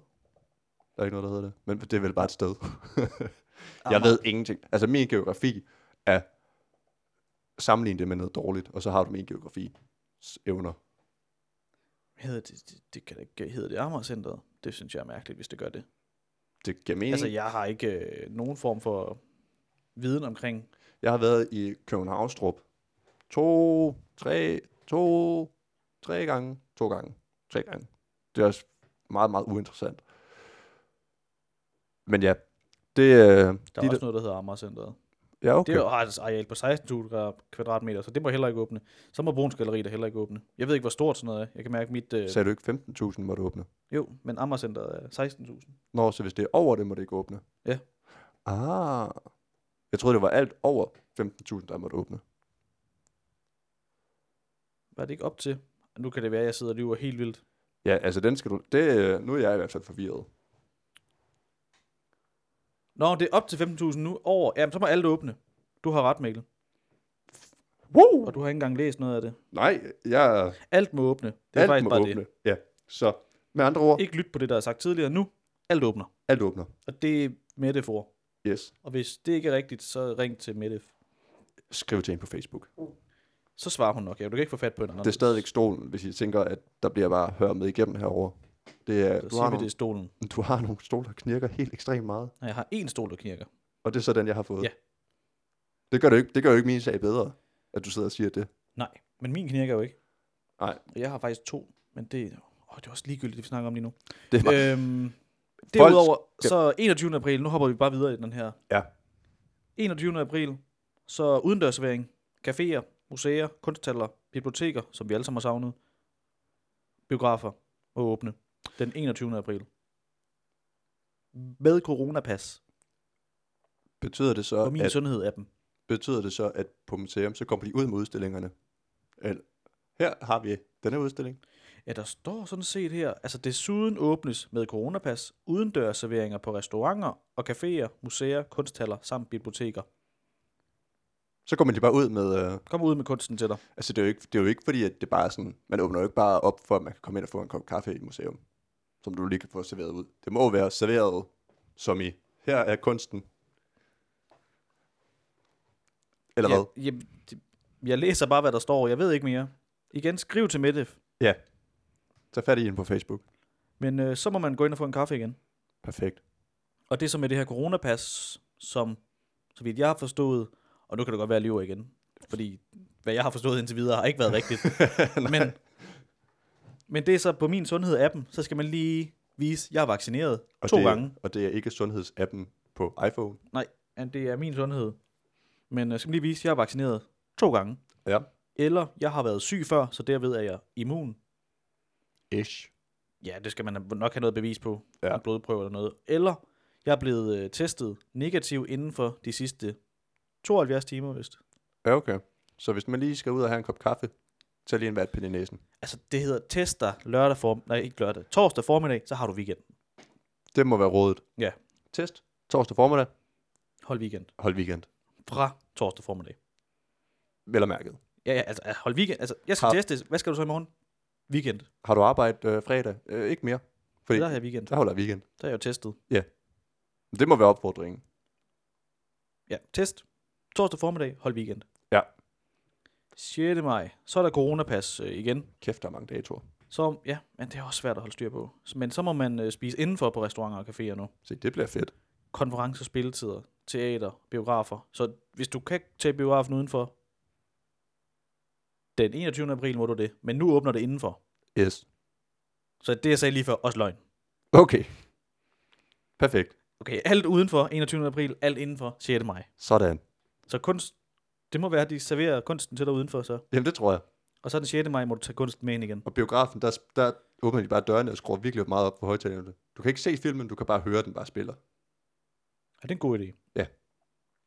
Speaker 1: Der er ikke noget, der hedder det. Men det er vel bare et sted. jeg ved ingenting. Altså min geografi er sammenligne det med noget dårligt, og så har du min geografi evner.
Speaker 2: Hedder det, det, det, kan da ikke hedder det Amager Centeret. Det synes jeg er mærkeligt, hvis det gør det.
Speaker 1: det giver mening.
Speaker 2: Altså,
Speaker 1: Altså, jeg...
Speaker 2: jeg har ikke øh, nogen form for viden omkring...
Speaker 1: jeg har været i Københavnstrup to, tre, to, tre gange, to gange, tre gange. Det er også meget, meget uinteressant. Men ja, det... Øh, der
Speaker 2: Der er også noget, der hedder Amagercenteret.
Speaker 1: ja, okay.
Speaker 2: Okay. Det har et areal på 16.000 kvadratmeter, så det må heller ikke åbne. Så må Bruns Galeri der heller ikke åbne. Jeg ved ikke, hvor stort sådan noget er. Jeg kan mærke mit... Øh,
Speaker 1: Sagde du ikke 15.000 måtte åbne?
Speaker 2: jo, men Amagercenteret er 16.000.
Speaker 1: Nå, så hvis det er over det, må det ikke åbne?
Speaker 2: Ja.
Speaker 1: Ah. Jeg troede, det var alt over 15.000, der måtte åbne.
Speaker 2: Var det ikke op til? Nu kan det være, at jeg sidder og lyver helt vildt.
Speaker 1: Ja, altså den skal du... Det, øh, nu er jeg i hvert fald forvirret.
Speaker 2: Nå, det er op til 15.000 nu over. Jamen, så må alt åbne. Du har ret, Mikkel.
Speaker 1: Woo!
Speaker 2: Og du har ikke engang læst noget af det.
Speaker 1: Nej, jeg...
Speaker 2: Alt må åbne. Det er
Speaker 1: alt
Speaker 2: faktisk
Speaker 1: må
Speaker 2: bare
Speaker 1: åbne.
Speaker 2: det.
Speaker 1: Ja, så med andre ord,
Speaker 2: Ikke lyt på det, der er sagt tidligere. Nu, alt åbner.
Speaker 1: alt åbner.
Speaker 2: Og det er Mette for.
Speaker 1: Yes.
Speaker 2: Og hvis det ikke er rigtigt, så ring til Mette.
Speaker 1: Skriv til hende på Facebook.
Speaker 2: Så svarer hun nok. Ja, du kan ikke få fat på hende.
Speaker 1: Det er stadigvæk stolen, hvis I tænker, at der bliver bare hør med igennem herover. Det er,
Speaker 2: Så
Speaker 1: du,
Speaker 2: siger
Speaker 1: har
Speaker 2: vi, det er
Speaker 1: nogle,
Speaker 2: stolen.
Speaker 1: du har nogle stole, der knirker helt ekstremt meget.
Speaker 2: Nej, jeg har én stol, der knirker.
Speaker 1: Og det er så den, jeg har fået.
Speaker 2: Ja.
Speaker 1: Det gør, det, ikke, det gør jo ikke min sag bedre, at du sidder og siger det.
Speaker 2: Nej, men min knirker jo ikke.
Speaker 1: Nej.
Speaker 2: Og jeg har faktisk to, men det, åh, det er også ligegyldigt, det vi snakker om lige nu.
Speaker 1: Det er bare,
Speaker 2: Øhm, derudover,
Speaker 1: skal-
Speaker 2: så 21. april, nu hopper vi bare videre i den her.
Speaker 1: Ja.
Speaker 2: 21. april, så udendørsservering, caféer, museer, kunsthandler, biblioteker, som vi alle sammen har savnet, biografer og åbne den 21. april. Med coronapas,
Speaker 1: betyder det så,
Speaker 2: og Øh, min
Speaker 1: at,
Speaker 2: sundhed af dem.
Speaker 1: betyder det så, at på museum, så kommer de ud med udstillingerne? Eller, her har vi den her udstilling.
Speaker 2: Ja, der står sådan set her, altså desuden åbnes med coronapas udendørsserveringer på restauranter og caféer, museer, kunsthaller samt biblioteker.
Speaker 1: Så kommer de bare ud med... Øh,
Speaker 2: Kom ud med kunsten til dig.
Speaker 1: altså, det er, jo ikke, det er jo ikke fordi, at det bare er sådan... Man åbner jo ikke bare op for, at man kan komme ind og få en kop kaffe i et museum, som du lige kan få serveret ud. Det må jo være serveret som i, her er kunsten. Eller hvad?
Speaker 2: Jeg, jeg, jeg læser bare, hvad der står, jeg ved ikke mere. Igen, skriv til Mette,
Speaker 1: Ja. Tag fat i hende på Facebook.
Speaker 2: men øh, så må man gå ind og få en kaffe igen.
Speaker 1: Perfekt.
Speaker 2: Og det er så med det her coronapas, som, så vidt jeg har forstået, og nu kan det godt være, at jeg lyver igen, fordi hvad jeg har forstået indtil videre har ikke været rigtigt. men, men det er så på min sundhed-appen, så skal man lige vise, at jeg er vaccineret
Speaker 1: Og
Speaker 2: to
Speaker 1: det, er-
Speaker 2: gange.
Speaker 1: Og det er ikke sundhedsappen på iPhone.
Speaker 2: Nej, at det er min sundhed. Men jeg skal lige vise, at jeg er vaccineret to gange.
Speaker 1: Ja.
Speaker 2: Eller jeg har været syg før, så derved er jeg immun.
Speaker 1: Ish.
Speaker 2: Ja, det skal man nok have noget bevis på.
Speaker 1: Ja.
Speaker 2: Ja. En blodprøve eller noget. Eller jeg er blevet øh, testet negativ inden for de sidste 72 timer, vist.
Speaker 1: Ja, okay. Så hvis man lige skal ud og have en kop kaffe, tag lige en vatpind i næsen.
Speaker 2: Altså, det hedder tester lørdag form... Nej, ikke lørdag. Torsdag formiddag, så har du weekend.
Speaker 1: Det må være rådet.
Speaker 2: Ja.
Speaker 1: Test. Torsdag formiddag.
Speaker 2: Hold weekend.
Speaker 1: Hold weekend.
Speaker 2: Fra torsdag formiddag.
Speaker 1: Vel og mærket.
Speaker 2: Ja, ja, altså, hold weekend. Altså, jeg skal
Speaker 1: Har-
Speaker 2: testes. Hvad skal du så i morgen? Weekend.
Speaker 1: Har du arbejde øh, fredag? Øh, ikke mere. Fordi
Speaker 2: Der har jeg weekend.
Speaker 1: der holder jeg weekend.
Speaker 2: Der er jeg jo testet.
Speaker 1: Det må være opfordringen.
Speaker 2: Ja, test. Torsdag formiddag, hold weekend.
Speaker 1: Ja.
Speaker 2: 6. maj, så er der coronapas øh, igen.
Speaker 1: Kæft, der er mange datoer.
Speaker 2: Så, ja, men det er også svært at holde styr på. Så- Men så må man øh, spise indenfor på restauranter og caféer nu.
Speaker 1: Se, det bliver fedt.
Speaker 2: Konferencer, spilletider, teater, biografer. Så hvis du kan tage biografen udenfor, den 21. april må du det. Men nu åbner det indenfor.
Speaker 1: Yes.
Speaker 2: Så det, jeg sagde lige før, også løgn.
Speaker 1: Okay. Perfekt.
Speaker 2: Okay, alt udenfor 21. april, alt indenfor 6. maj.
Speaker 1: Sådan.
Speaker 2: Så kunst, det må være, at de serverer kunsten til dig udenfor så.
Speaker 1: Jamen, det tror jeg.
Speaker 2: Og så den 6. maj må du tage kunsten med ind igen.
Speaker 1: Og biografen, der, der åbner de bare dørene og skruer virkelig meget op på højtalerne. Du kan ikke se filmen, du kan bare høre, den bare spiller.
Speaker 2: Er det en god idé?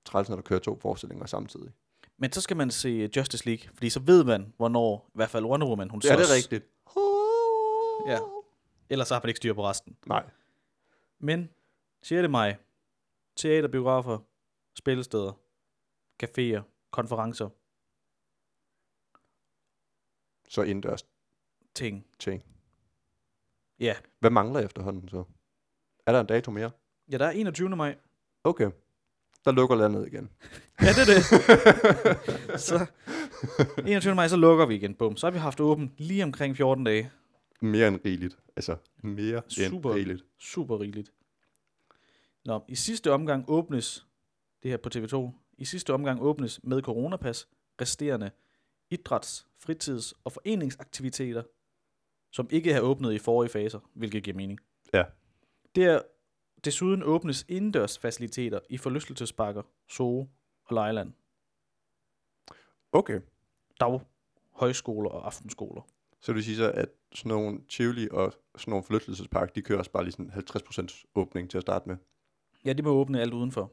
Speaker 1: Træls, når du kører to forestillinger samtidig.
Speaker 2: Men så skal man se øh, Justice League, fordi så ved man, hvornår, i hvert fald Wonder Woman, hun
Speaker 1: Ja, det
Speaker 2: sås.
Speaker 1: er rigtigt.
Speaker 2: Ja. Ellers så har man ikke styr på resten.
Speaker 1: Nej.
Speaker 2: Men 6. maj, teaterbiografer, spillesteder, caféer, konferencer,
Speaker 1: Så indendørs
Speaker 2: ting.
Speaker 1: ting.
Speaker 2: Ja.
Speaker 1: Hvad mangler efterhånden så? Er der en dato mere?
Speaker 2: Ja, der er 21. maj.
Speaker 1: Okay. Der lukker landet igen.
Speaker 2: Ja, det er det. så 21. maj, så lukker vi igen. Bum. Så har vi haft åben lige omkring 14 dage.
Speaker 1: Mere end rigeligt. Altså, mere
Speaker 2: Super.
Speaker 1: end rigeligt.
Speaker 2: Super rigeligt. Nå, i sidste omgang åbnes, det her på TV2, i sidste omgang åbnes med coronapas resterende idræts-, fritids- og foreningsaktiviteter, som ikke har åbnet i forrige faser, hvilket giver mening.
Speaker 1: Ja.
Speaker 2: Der desuden åbnes indendørsfaciliteter i forlystelsesparker, zoo og lejland,
Speaker 1: Okay.
Speaker 2: dag, højskoler og aftenskoler.
Speaker 1: Så det vil sige så, at sådan nogle Tivoli og sådan nogle forlystelsespark, de kører også bare lige sådan 50% åbning til at starte med.
Speaker 2: Ja, det må åbne alt udenfor.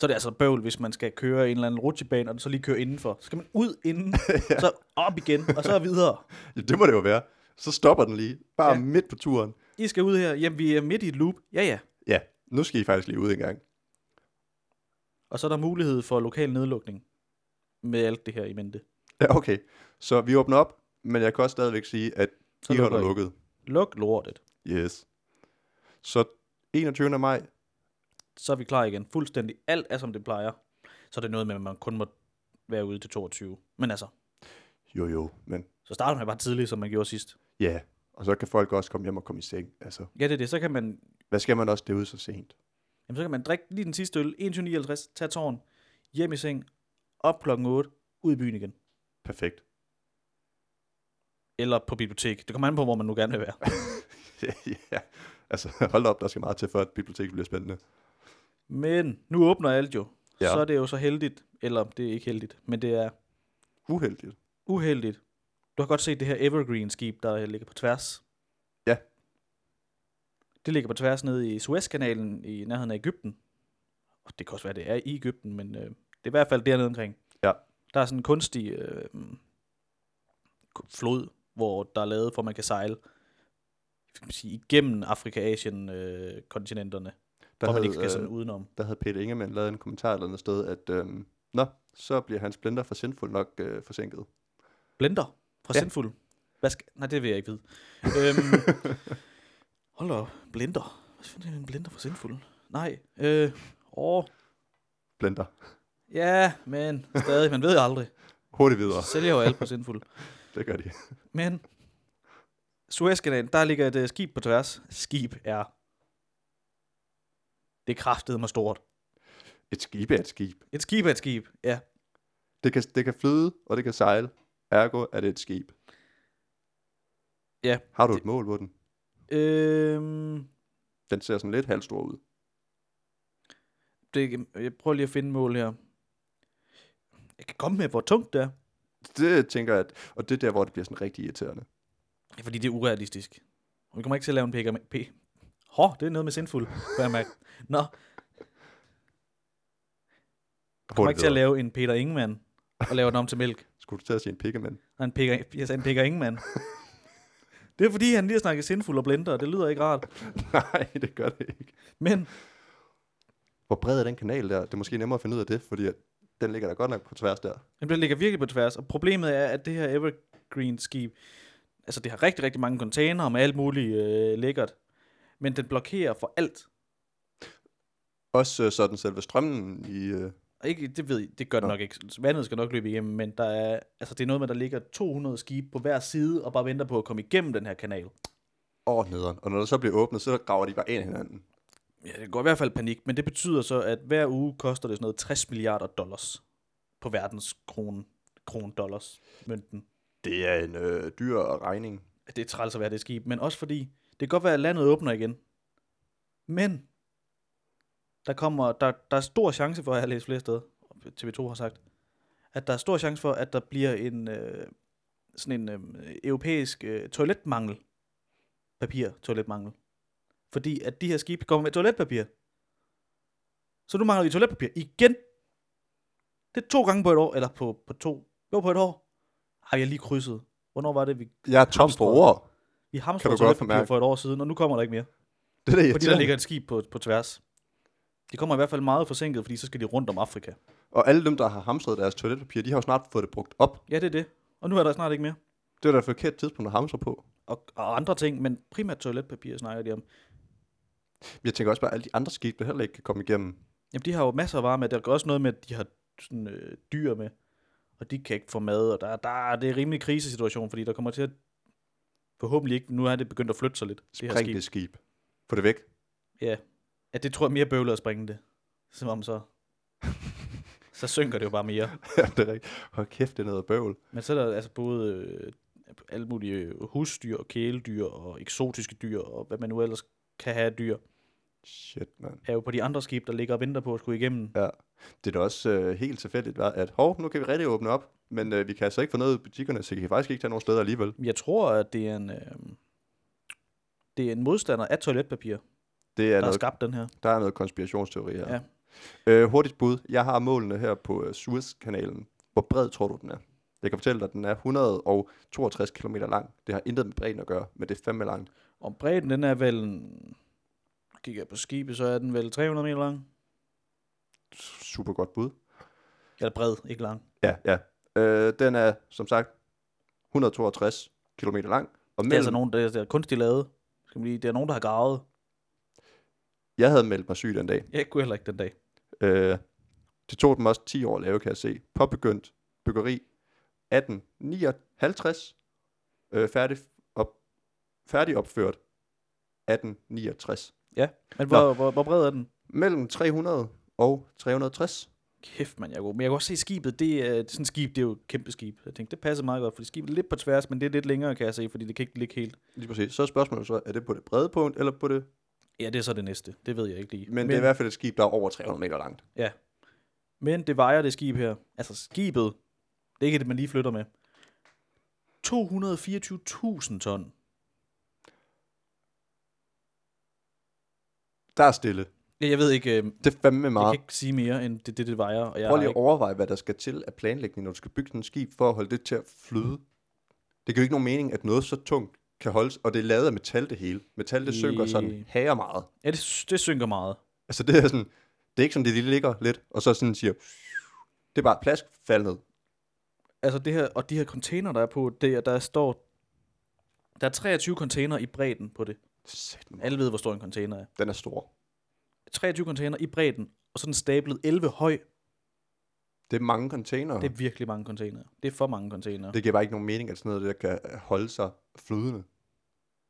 Speaker 2: Så er det altså bøvl, hvis man skal køre en eller anden rutsjebane, og så lige køre indenfor. Så skal man ud inden, ja. så op igen, og så videre.
Speaker 1: Ja, det må det jo være. Så stopper den lige, bare
Speaker 2: Ja.
Speaker 1: ja. midt på turen.
Speaker 2: I skal ud her. Jamen, vi er midt i et loop. Ja, ja.
Speaker 1: Ja, nu skal I faktisk lige ud en gang.
Speaker 2: Og så er der mulighed for lokal nedlukning med alt det her i mente.
Speaker 1: Ja, okay. Så vi åbner op, men jeg kan også stadigvæk sige, at
Speaker 2: Så
Speaker 1: I
Speaker 2: lukker
Speaker 1: holder
Speaker 2: I.
Speaker 1: lukket.
Speaker 2: Luk lortet.
Speaker 1: Yes. Så 21. maj,
Speaker 2: Så er vi klar igen. Fuldstændig alt er, som det plejer. Så er det noget med, at man kun må være ude til 22. Men altså,
Speaker 1: jo jo, men
Speaker 2: så starter man bare tidligt, som man gjorde sidst.
Speaker 1: ja. Og så kan folk også komme hjem og komme i seng. Altså,
Speaker 2: Ja, det er det. Så kan man
Speaker 1: hvad skal man også derude så sent?
Speaker 2: Jamen, så kan man drikke lige den sidste øl, 21.59, tage tårn, hjem i seng, op klokken 8, ud i byen igen.
Speaker 1: Perfekt.
Speaker 2: Eller på bibliotek. Det kommer an på, hvor man nu gerne vil være.
Speaker 1: ja, ja. Altså, hold da op, der skal meget til, for at biblioteket bliver spændende.
Speaker 2: Men nu åbner alt jo. Ja.
Speaker 1: Ja.
Speaker 2: Så er det jo så heldigt, eller det er ikke heldigt, men det er
Speaker 1: Uheldigt.
Speaker 2: uheldigt. Du har godt set det her Evergreen-skib, der ligger på tværs.
Speaker 1: Ja.
Speaker 2: Det ligger på tværs nede i Suezkanalen i nærheden af Ægypten. Og det kan også være, det er i Ægypten, men øh, det er i hvert fald dernede omkring.
Speaker 1: Ja.
Speaker 2: Der er sådan en kunstig øh, mm, ku- flod, hvor der er lavet, for at man kan sejle skal man sige, igennem Afrika-Asien-kontinenterne,
Speaker 1: Der
Speaker 2: hvor man
Speaker 1: havde,
Speaker 2: ikke skal sådan
Speaker 1: øh,
Speaker 2: udenom.
Speaker 1: der havde Peter Ingemann lavet en kommentar et eller andet sted, at øhm, nå, så bliver hans blender for sindfuld nok øh, forsinket.
Speaker 2: Blender fra ja.
Speaker 1: Ja.
Speaker 2: Sendfuld. Hvad skal... Nej, det vil jeg ikke vide. øhm, hold da op. Blender. Hvad fanden er en blender fra Sendfuld? Nej. Øh, åh,
Speaker 1: Blender.
Speaker 2: ja, men stadig. Man ved jo aldrig.
Speaker 1: Hurtigt videre.
Speaker 2: Så sælger jo alt på Sendfuld.
Speaker 1: Det gør de.
Speaker 2: Men Suezkanalen, der ligger et øh, skib på tværs. Skib er... Det kraftede mig stort.
Speaker 1: Et skib er et skib.
Speaker 2: Et skib er et skib, ja.
Speaker 1: Det kan, det kan flyde, og det kan sejle. Ergo er det et skib.
Speaker 2: Ja.
Speaker 1: Har du
Speaker 2: Det-
Speaker 1: et mål på den?
Speaker 2: Øhm,
Speaker 1: Den ser sådan lidt halvstor ud.
Speaker 2: det, jeg prøver lige at finde mål her. Jeg kan komme med, hvor tungt det er.
Speaker 1: Det tænker jeg, at, og det er der, hvor det bliver sådan rigtig irriterende.
Speaker 2: Ja, fordi det er urealistisk. Og vi kommer ikke til at lave en PKM... P. Hå, det er noget med sindfuld, kan jeg mærke. Nå, vi kommer ikke til at lave en Peter Ingemann og lave den om til mælk.
Speaker 1: Skulle du til at sige en pikkemand?
Speaker 2: Og en Peter, jeg sagde en Peter Ingemann. Det er fordi, han lige har snakket sindfuld og blender, og det lyder ikke rart.
Speaker 1: Nej, det gør det ikke.
Speaker 2: Men
Speaker 1: Hvor bred er den kanal der? Det er måske nemmere at finde ud af det, fordi at den ligger der godt nok på tværs der.
Speaker 2: Jamen, det ligger virkelig på tværs, og problemet er, at det her Evergreen-skib, altså det har rigtig, rigtig mange containere med alt muligt øh, lækkert, men den blokerer for alt.
Speaker 1: Også øh, sådan selve strømmen i... Øh,
Speaker 2: Og Ikke, det ved jeg, det gør det
Speaker 1: Nå.
Speaker 2: nok ikke. Vandet skal nok løbe igennem, men der er, altså det er noget med, der ligger 200 skibe på hver side og bare venter på at komme igennem den her kanal.
Speaker 1: over nederen. Og når der så bliver åbnet, så graver de bare ind i hinanden.
Speaker 2: Ja, det går i hvert fald panik, men det betyder så, at hver uge koster det sådan noget 60 milliarder dollars på verdens kron, kron dollars mønten.
Speaker 1: Det er en øh, dyr regning.
Speaker 2: Det er træls at være det skib, men også fordi, det kan godt være, at landet åbner igen. Men, der, kommer, der, der er stor chance for, at jeg har læst flere steder, TV2 har sagt, at der er stor chance for, at der bliver en øh, sådan en øh, europæisk øh, toiletmangel. Papir, toiletmangel. Fordi at de her skibe kommer med toiletpapir. Så nu mangler vi toiletpapir igen. Det er to gange på et år, eller på, på to. Jo, på et år. Har jeg lige krydset. Hvornår var det, vi
Speaker 1: Jeg er tom for
Speaker 2: Hamstret.
Speaker 1: ord.
Speaker 2: vi
Speaker 1: Kan du
Speaker 2: hamstrede
Speaker 1: godt
Speaker 2: toiletpapir
Speaker 1: mærke?
Speaker 2: for et år siden, og nu kommer der ikke mere.
Speaker 1: Det er da
Speaker 2: Fordi der
Speaker 1: irriterende.
Speaker 2: ligger et skib på, på tværs. Det kommer i hvert fald meget forsinket, fordi så skal de rundt om Afrika.
Speaker 1: Og alle dem, der har hamstret deres toiletpapir, de har jo snart fået det brugt op.
Speaker 2: Ja, det er det. Og nu er der snart ikke mere.
Speaker 1: Det er da et forkert tidspunkt at hamstre på.
Speaker 2: Og, og andre ting, men primært toiletpapir snakker de om.
Speaker 1: Jeg tænker også bare, at alle de andre skibe, der heller ikke kan komme igennem.
Speaker 2: Jamen, de har jo masser af varer med. Der er også noget med, at de har sådan, øh, dyr med, og de kan ikke få mad. Og der, der, det er en rimelig krisesituation, fordi der kommer til at... Forhåbentlig ikke. Nu er det begyndt at flytte sig lidt, det her
Speaker 1: Spring
Speaker 2: skib.
Speaker 1: det skib. Få det væk.
Speaker 2: Ja. at det tror jeg er mere bøvlet at springe det. Som om så, så synker det jo bare mere.
Speaker 1: Ja, det er rigtigt. Hold kæft, det er noget bøvl.
Speaker 2: Men så er der altså både øh, alle mulige øh, husdyr og kæledyr og eksotiske dyr og hvad man nu ellers kan have af dyr,
Speaker 1: Shit, mand.
Speaker 2: er jo på de andre skibe, der ligger og venter på at skulle igennem.
Speaker 1: Ja. Det er da også øh, helt tilfældigt, hva? at hov, nu kan vi rigtig åbne op, men øh, vi kan altså ikke få noget i butikkerne, så I kan faktisk ikke tage nogen steder alligevel.
Speaker 2: Jeg tror, at det er en, øh, det er en modstander af toiletpapir,
Speaker 1: Det er
Speaker 2: der har
Speaker 1: noget,
Speaker 2: skabt den her.
Speaker 1: der er noget konspirationsteori her.
Speaker 2: Ja.
Speaker 1: Øh, hurtigt bud. Jeg har målene her på øh, Suezkanalen. Hvor bred tror du, den er? Jeg kan fortælle dig, at den er 162 km lang. Det har intet med bredden at gøre, men det er fandme langt.
Speaker 2: Og bredden, den er vel... en- Kigger jeg på skibet, så er den vel 300 meter lang.
Speaker 1: Super godt bud.
Speaker 2: Eller bred, ikke lang.
Speaker 1: Ja, ja. Øh, den er, som sagt, 162 km lang. Og
Speaker 2: Det er altså
Speaker 1: mellem,
Speaker 2: nogen, der er, der er kunstigt lavet. Skal man lige, det er nogen, der har gravet. altså-
Speaker 1: jeg havde meldt mig syg den dag.
Speaker 2: Jeg kunne heller ikke den dag.
Speaker 1: Øh, det tog dem også 10 år at lave, kan jeg se. Påbegyndt byggeri 1859. Øh, færdig, op, færdig opført 1869.
Speaker 2: Men
Speaker 1: Nå.
Speaker 2: hvor, hvor, hvor bred er den?
Speaker 1: Mellem 300 og 360.
Speaker 2: Kæft, man, jeg er god. Men jeg kan også se skibet, det er, sådan et skib, det er jo et kæmpe skib. Jeg tænkte, det passer meget godt, fordi skibet er lidt på tværs, men det er lidt længere, kan jeg se, fordi det kan ikke ligge helt.
Speaker 1: Lige præcis. Så er spørgsmålet så, er det på det brede punkt, eller på det...
Speaker 2: Ja, det er så det næste. Det ved jeg ikke lige.
Speaker 1: Men, men det er i hvert fald et skib, der er over 300 meter langt.
Speaker 2: men det vejer det skib her. Altså skibet, det er ikke det, man lige flytter med. 224.000 ton.
Speaker 1: Der er stille.
Speaker 2: Ja, Jeg ved ikke, øh,
Speaker 1: Det er fandme meget.
Speaker 2: Jeg kan ikke sige mere, end det, det, det vejer. Og jeg
Speaker 1: Ah. Prøv
Speaker 2: har
Speaker 1: lige at
Speaker 2: ikke,
Speaker 1: overveje, hvad der skal til af planlægning, når du skal bygge sådan et skib, for at holde det til at flyde. Det giver jo ikke nogen mening, at noget så tungt kan holdes, og det er lavet af metal det hele. Metal det synker sådan
Speaker 2: Næh.
Speaker 1: hager meget.
Speaker 2: ja, det, sy- det synker meget.
Speaker 1: Altså det er sådan, det er ikke sådan, det lige ligger lidt, og så sådan siger, det er bare plask, fald ned.
Speaker 2: Altså det her, og de her container, der er på, det, er- der står... Der er 23 container i bredden på det.
Speaker 1: Sæt mig.
Speaker 2: Alle ved, hvor stor en container er.
Speaker 1: Den er stor.
Speaker 2: 23 container i bredden, og sådan stablet 11 høj.
Speaker 1: Det er mange containere.
Speaker 2: Det
Speaker 1: Det,
Speaker 2: er virkelig mange container. Det er for mange container.
Speaker 1: det giver bare ikke nogen mening, at sådan noget der kan holde sig flydende.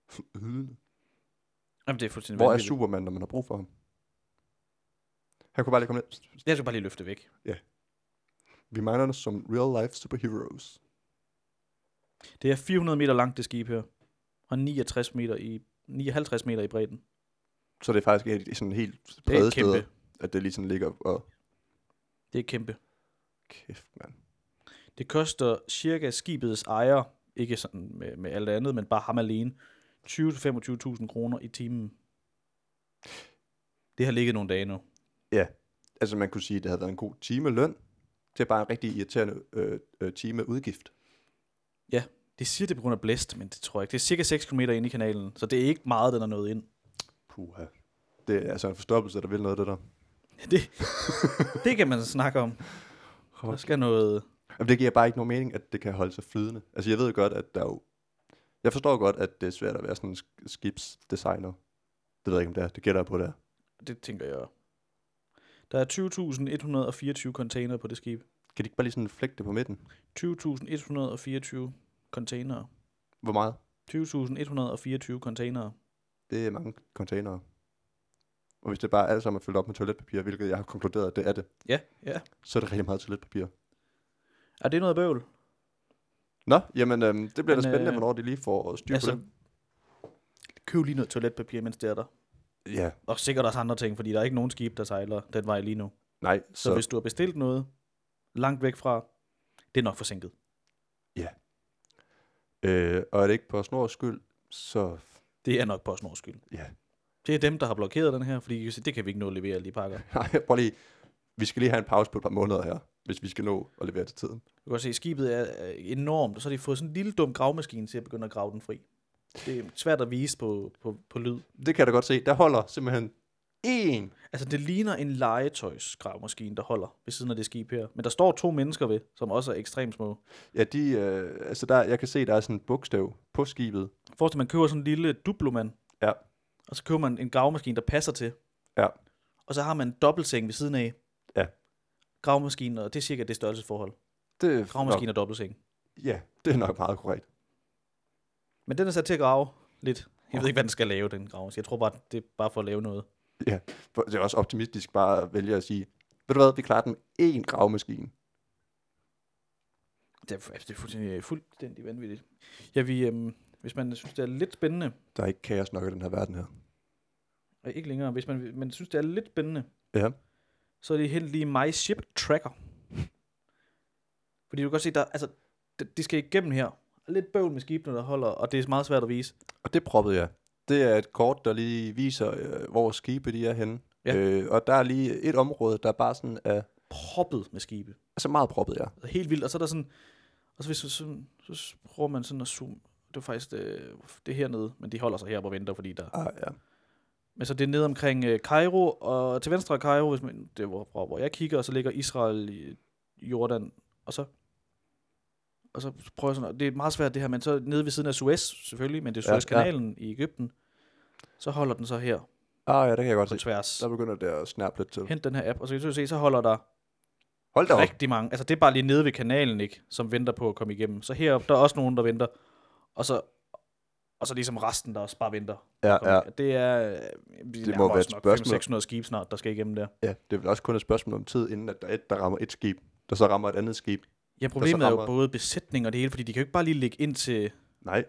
Speaker 1: Flydende.
Speaker 2: Jamen, det er fuldstændig
Speaker 1: Hvor er
Speaker 2: vanvittigt.
Speaker 1: Superman, når man har brug for ham? Han kunne bare lige komme ned.
Speaker 2: Jeg skal bare lige løfte det væk.
Speaker 1: Vi mangler dig som real life superheroes.
Speaker 2: Det er 400 meter langt, det skib her. Og 69 meter i 59 meter i bredden.
Speaker 1: Så det er faktisk et, sådan helt
Speaker 2: Det er
Speaker 1: brede
Speaker 2: kæmpe.
Speaker 1: sted, at det lige sådan ligger og...
Speaker 2: Det er kæmpe.
Speaker 1: Kæft, mand.
Speaker 2: Det koster cirka skibets ejer, ikke sådan med, med alt andet, men bare ham alene, 20-25.000 kroner i timen. Det har ligget nogle dage nu.
Speaker 1: Altså, man kunne sige, at det havde været en god timeløn. Det er bare en rigtig irriterende øh, øh, timeudgift.
Speaker 2: Det siger det er på grund af blæst, men det tror jeg ikke. Det er cirka 6 km ind i kanalen, så det er ikke meget, den er nået ind.
Speaker 1: Puha. Det er altså en forstoppelse, der vil noget, det der.
Speaker 2: Det, det kan man snakke om. Der skal noget...
Speaker 1: Jamen, det giver bare ikke nogen mening, at det kan holde sig flydende. Altså, jeg ved godt, at der er jo... Jeg forstår godt, at det er svært at være sådan en sk- skibsdesigner. Det ved jeg ikke, om det er. Det gætter jeg på, det er.
Speaker 2: Det tænker jeg. Der er 20.124 container på det skib.
Speaker 1: Kan de ikke bare lige sådan flække det på midten?
Speaker 2: 20.124 container.
Speaker 1: Hvor meget?
Speaker 2: 20.124 container.
Speaker 1: Det er mange containere. Og hvis det bare alt sammen er fyldt op med toiletpapir, hvilket jeg har konkluderet, at det er det,
Speaker 2: Ja, ja.
Speaker 1: så er det rigtig meget toiletpapir.
Speaker 2: Er det noget bøvl?
Speaker 1: Nå, jamen øhm, det bliver da
Speaker 2: Men,
Speaker 1: spændende,
Speaker 2: øh,
Speaker 1: hvornår de lige får styr altså,
Speaker 2: altså,
Speaker 1: på det.
Speaker 2: køb lige noget toiletpapir, mens det er der.
Speaker 1: Ja,
Speaker 2: Og sikkert også andre ting, fordi der er ikke nogen skib, der sejler den vej lige nu.
Speaker 1: nej,
Speaker 2: Så,
Speaker 1: så,
Speaker 2: hvis du har bestilt noget langt væk fra, det er nok forsinket.
Speaker 1: øh, og er det ikke på snors skyld, så
Speaker 2: Det er nok på snors skyld.
Speaker 1: ja.
Speaker 2: Det er dem, der har blokeret den her, fordi I kan se, det kan vi ikke nå at levere lige pakker.
Speaker 1: Nej, prøv lige, vi skal lige have en pause på et par måneder her, hvis vi skal nå at levere til tiden.
Speaker 2: Du kan også se, skibet er er øh, enormt, og så har de fået sådan en lille dum gravmaskine til at begynde at grave den fri. Det er svært at vise på, på, på lyd.
Speaker 1: Det kan jeg da godt se, der holder simpelthen én.
Speaker 2: Altså, det ligner en legetøjsgravmaskine, der holder ved siden af det skib her. Men der står to mennesker ved, som også er ekstremt små.
Speaker 1: Ja, de, øh, altså der, jeg kan se, der er sådan et bogstav på skibet.
Speaker 2: Forestil dig, man køber sådan en lille duplomand.
Speaker 1: Ja.
Speaker 2: Og så køber man en gravemaskine, der passer til.
Speaker 1: Ja.
Speaker 2: Og så har man en dobbeltseng ved siden af.
Speaker 1: Ja.
Speaker 2: Gravemaskinen, og det er cirka det størrelsesforhold.
Speaker 1: Det, er
Speaker 2: Gravemaskine og dobbeltseng.
Speaker 1: Nok, ja, det er nok meget korrekt.
Speaker 2: Men den er sat til at grave lidt. Jeg ved ikke, hvad den skal lave, den gravemaskine. Jeg tror bare, det er bare for at lave noget.
Speaker 1: Ja, for det er også optimistisk bare at vælge at sige, ved du hvad, vi klarer den én gravmaskine.
Speaker 2: Det er, fu- altså, det er fuldstændig, øh, fuldstændig vanvittigt. Ja, vi, øhm, hvis man synes, det er lidt spændende,
Speaker 1: Der er ikke kaos nok i den her verden her.
Speaker 2: og ikke længere, hvis man, man synes, det er lidt spændende,
Speaker 1: Ja.
Speaker 2: så er det helt lige My Ship Tracker. Fordi du kan godt se, der, altså, det, de skal igennem her. Og Lidt bøvl med skibene, der holder, og det er meget svært at vise.
Speaker 1: Og det proppede jeg. Det er et kort, der lige viser, øh, hvor skibe de er henne.
Speaker 2: Ja.
Speaker 1: Øh, og der er lige et område, der bare sådan er
Speaker 2: Proppet med skibe.
Speaker 1: altså meget proppet, ja.
Speaker 2: Altså, helt vildt. Og så er der sådan... Og så, hvis, så, så, så prøver man sådan at zoome... Det var faktisk det, det er hernede, men de holder sig heroppe og venter, fordi der...
Speaker 1: Ah, ja.
Speaker 2: Men så det er nede omkring øh, Kairo, og til venstre af Kairo, hvis man, det var fra, hvor jeg kigger, og så ligger Israel, i Jordan, og så... Og så prøver jeg sådan... og Det er meget svært det her, men så nede ved siden af Suez, selvfølgelig, men det er
Speaker 1: Ja, ja.
Speaker 2: Suezkanalen ja, i Ægypten. Så holder den så her
Speaker 1: Ah, ja, det kan jeg godt
Speaker 2: på
Speaker 1: se.
Speaker 2: tværs.
Speaker 1: Der begynder det at snappe lidt til.
Speaker 2: Hent den her app, og så kan du se, så holder der
Speaker 1: Hold da op.
Speaker 2: rigtig mange. Altså, det er bare lige nede ved kanalen, ikke? Som venter på at komme igennem. Så heroppe, der er også nogen, der venter. Og så, og så ligesom resten, der også bare venter.
Speaker 1: Ja,
Speaker 2: Kom,
Speaker 1: ja.
Speaker 2: Det er... øh, Vi
Speaker 1: Det må være et spørgsmål.
Speaker 2: 600 skibe snart, der skal igennem der.
Speaker 1: ja. Det er vel også kun et spørgsmål om tid, inden at der er et, der rammer et skib, der så rammer et andet skib.
Speaker 2: Ja, problemet er jo
Speaker 1: rammer-
Speaker 2: både besætning og det hele, fordi de kan jo ikke bare lige lægge ind til,
Speaker 1: Nej.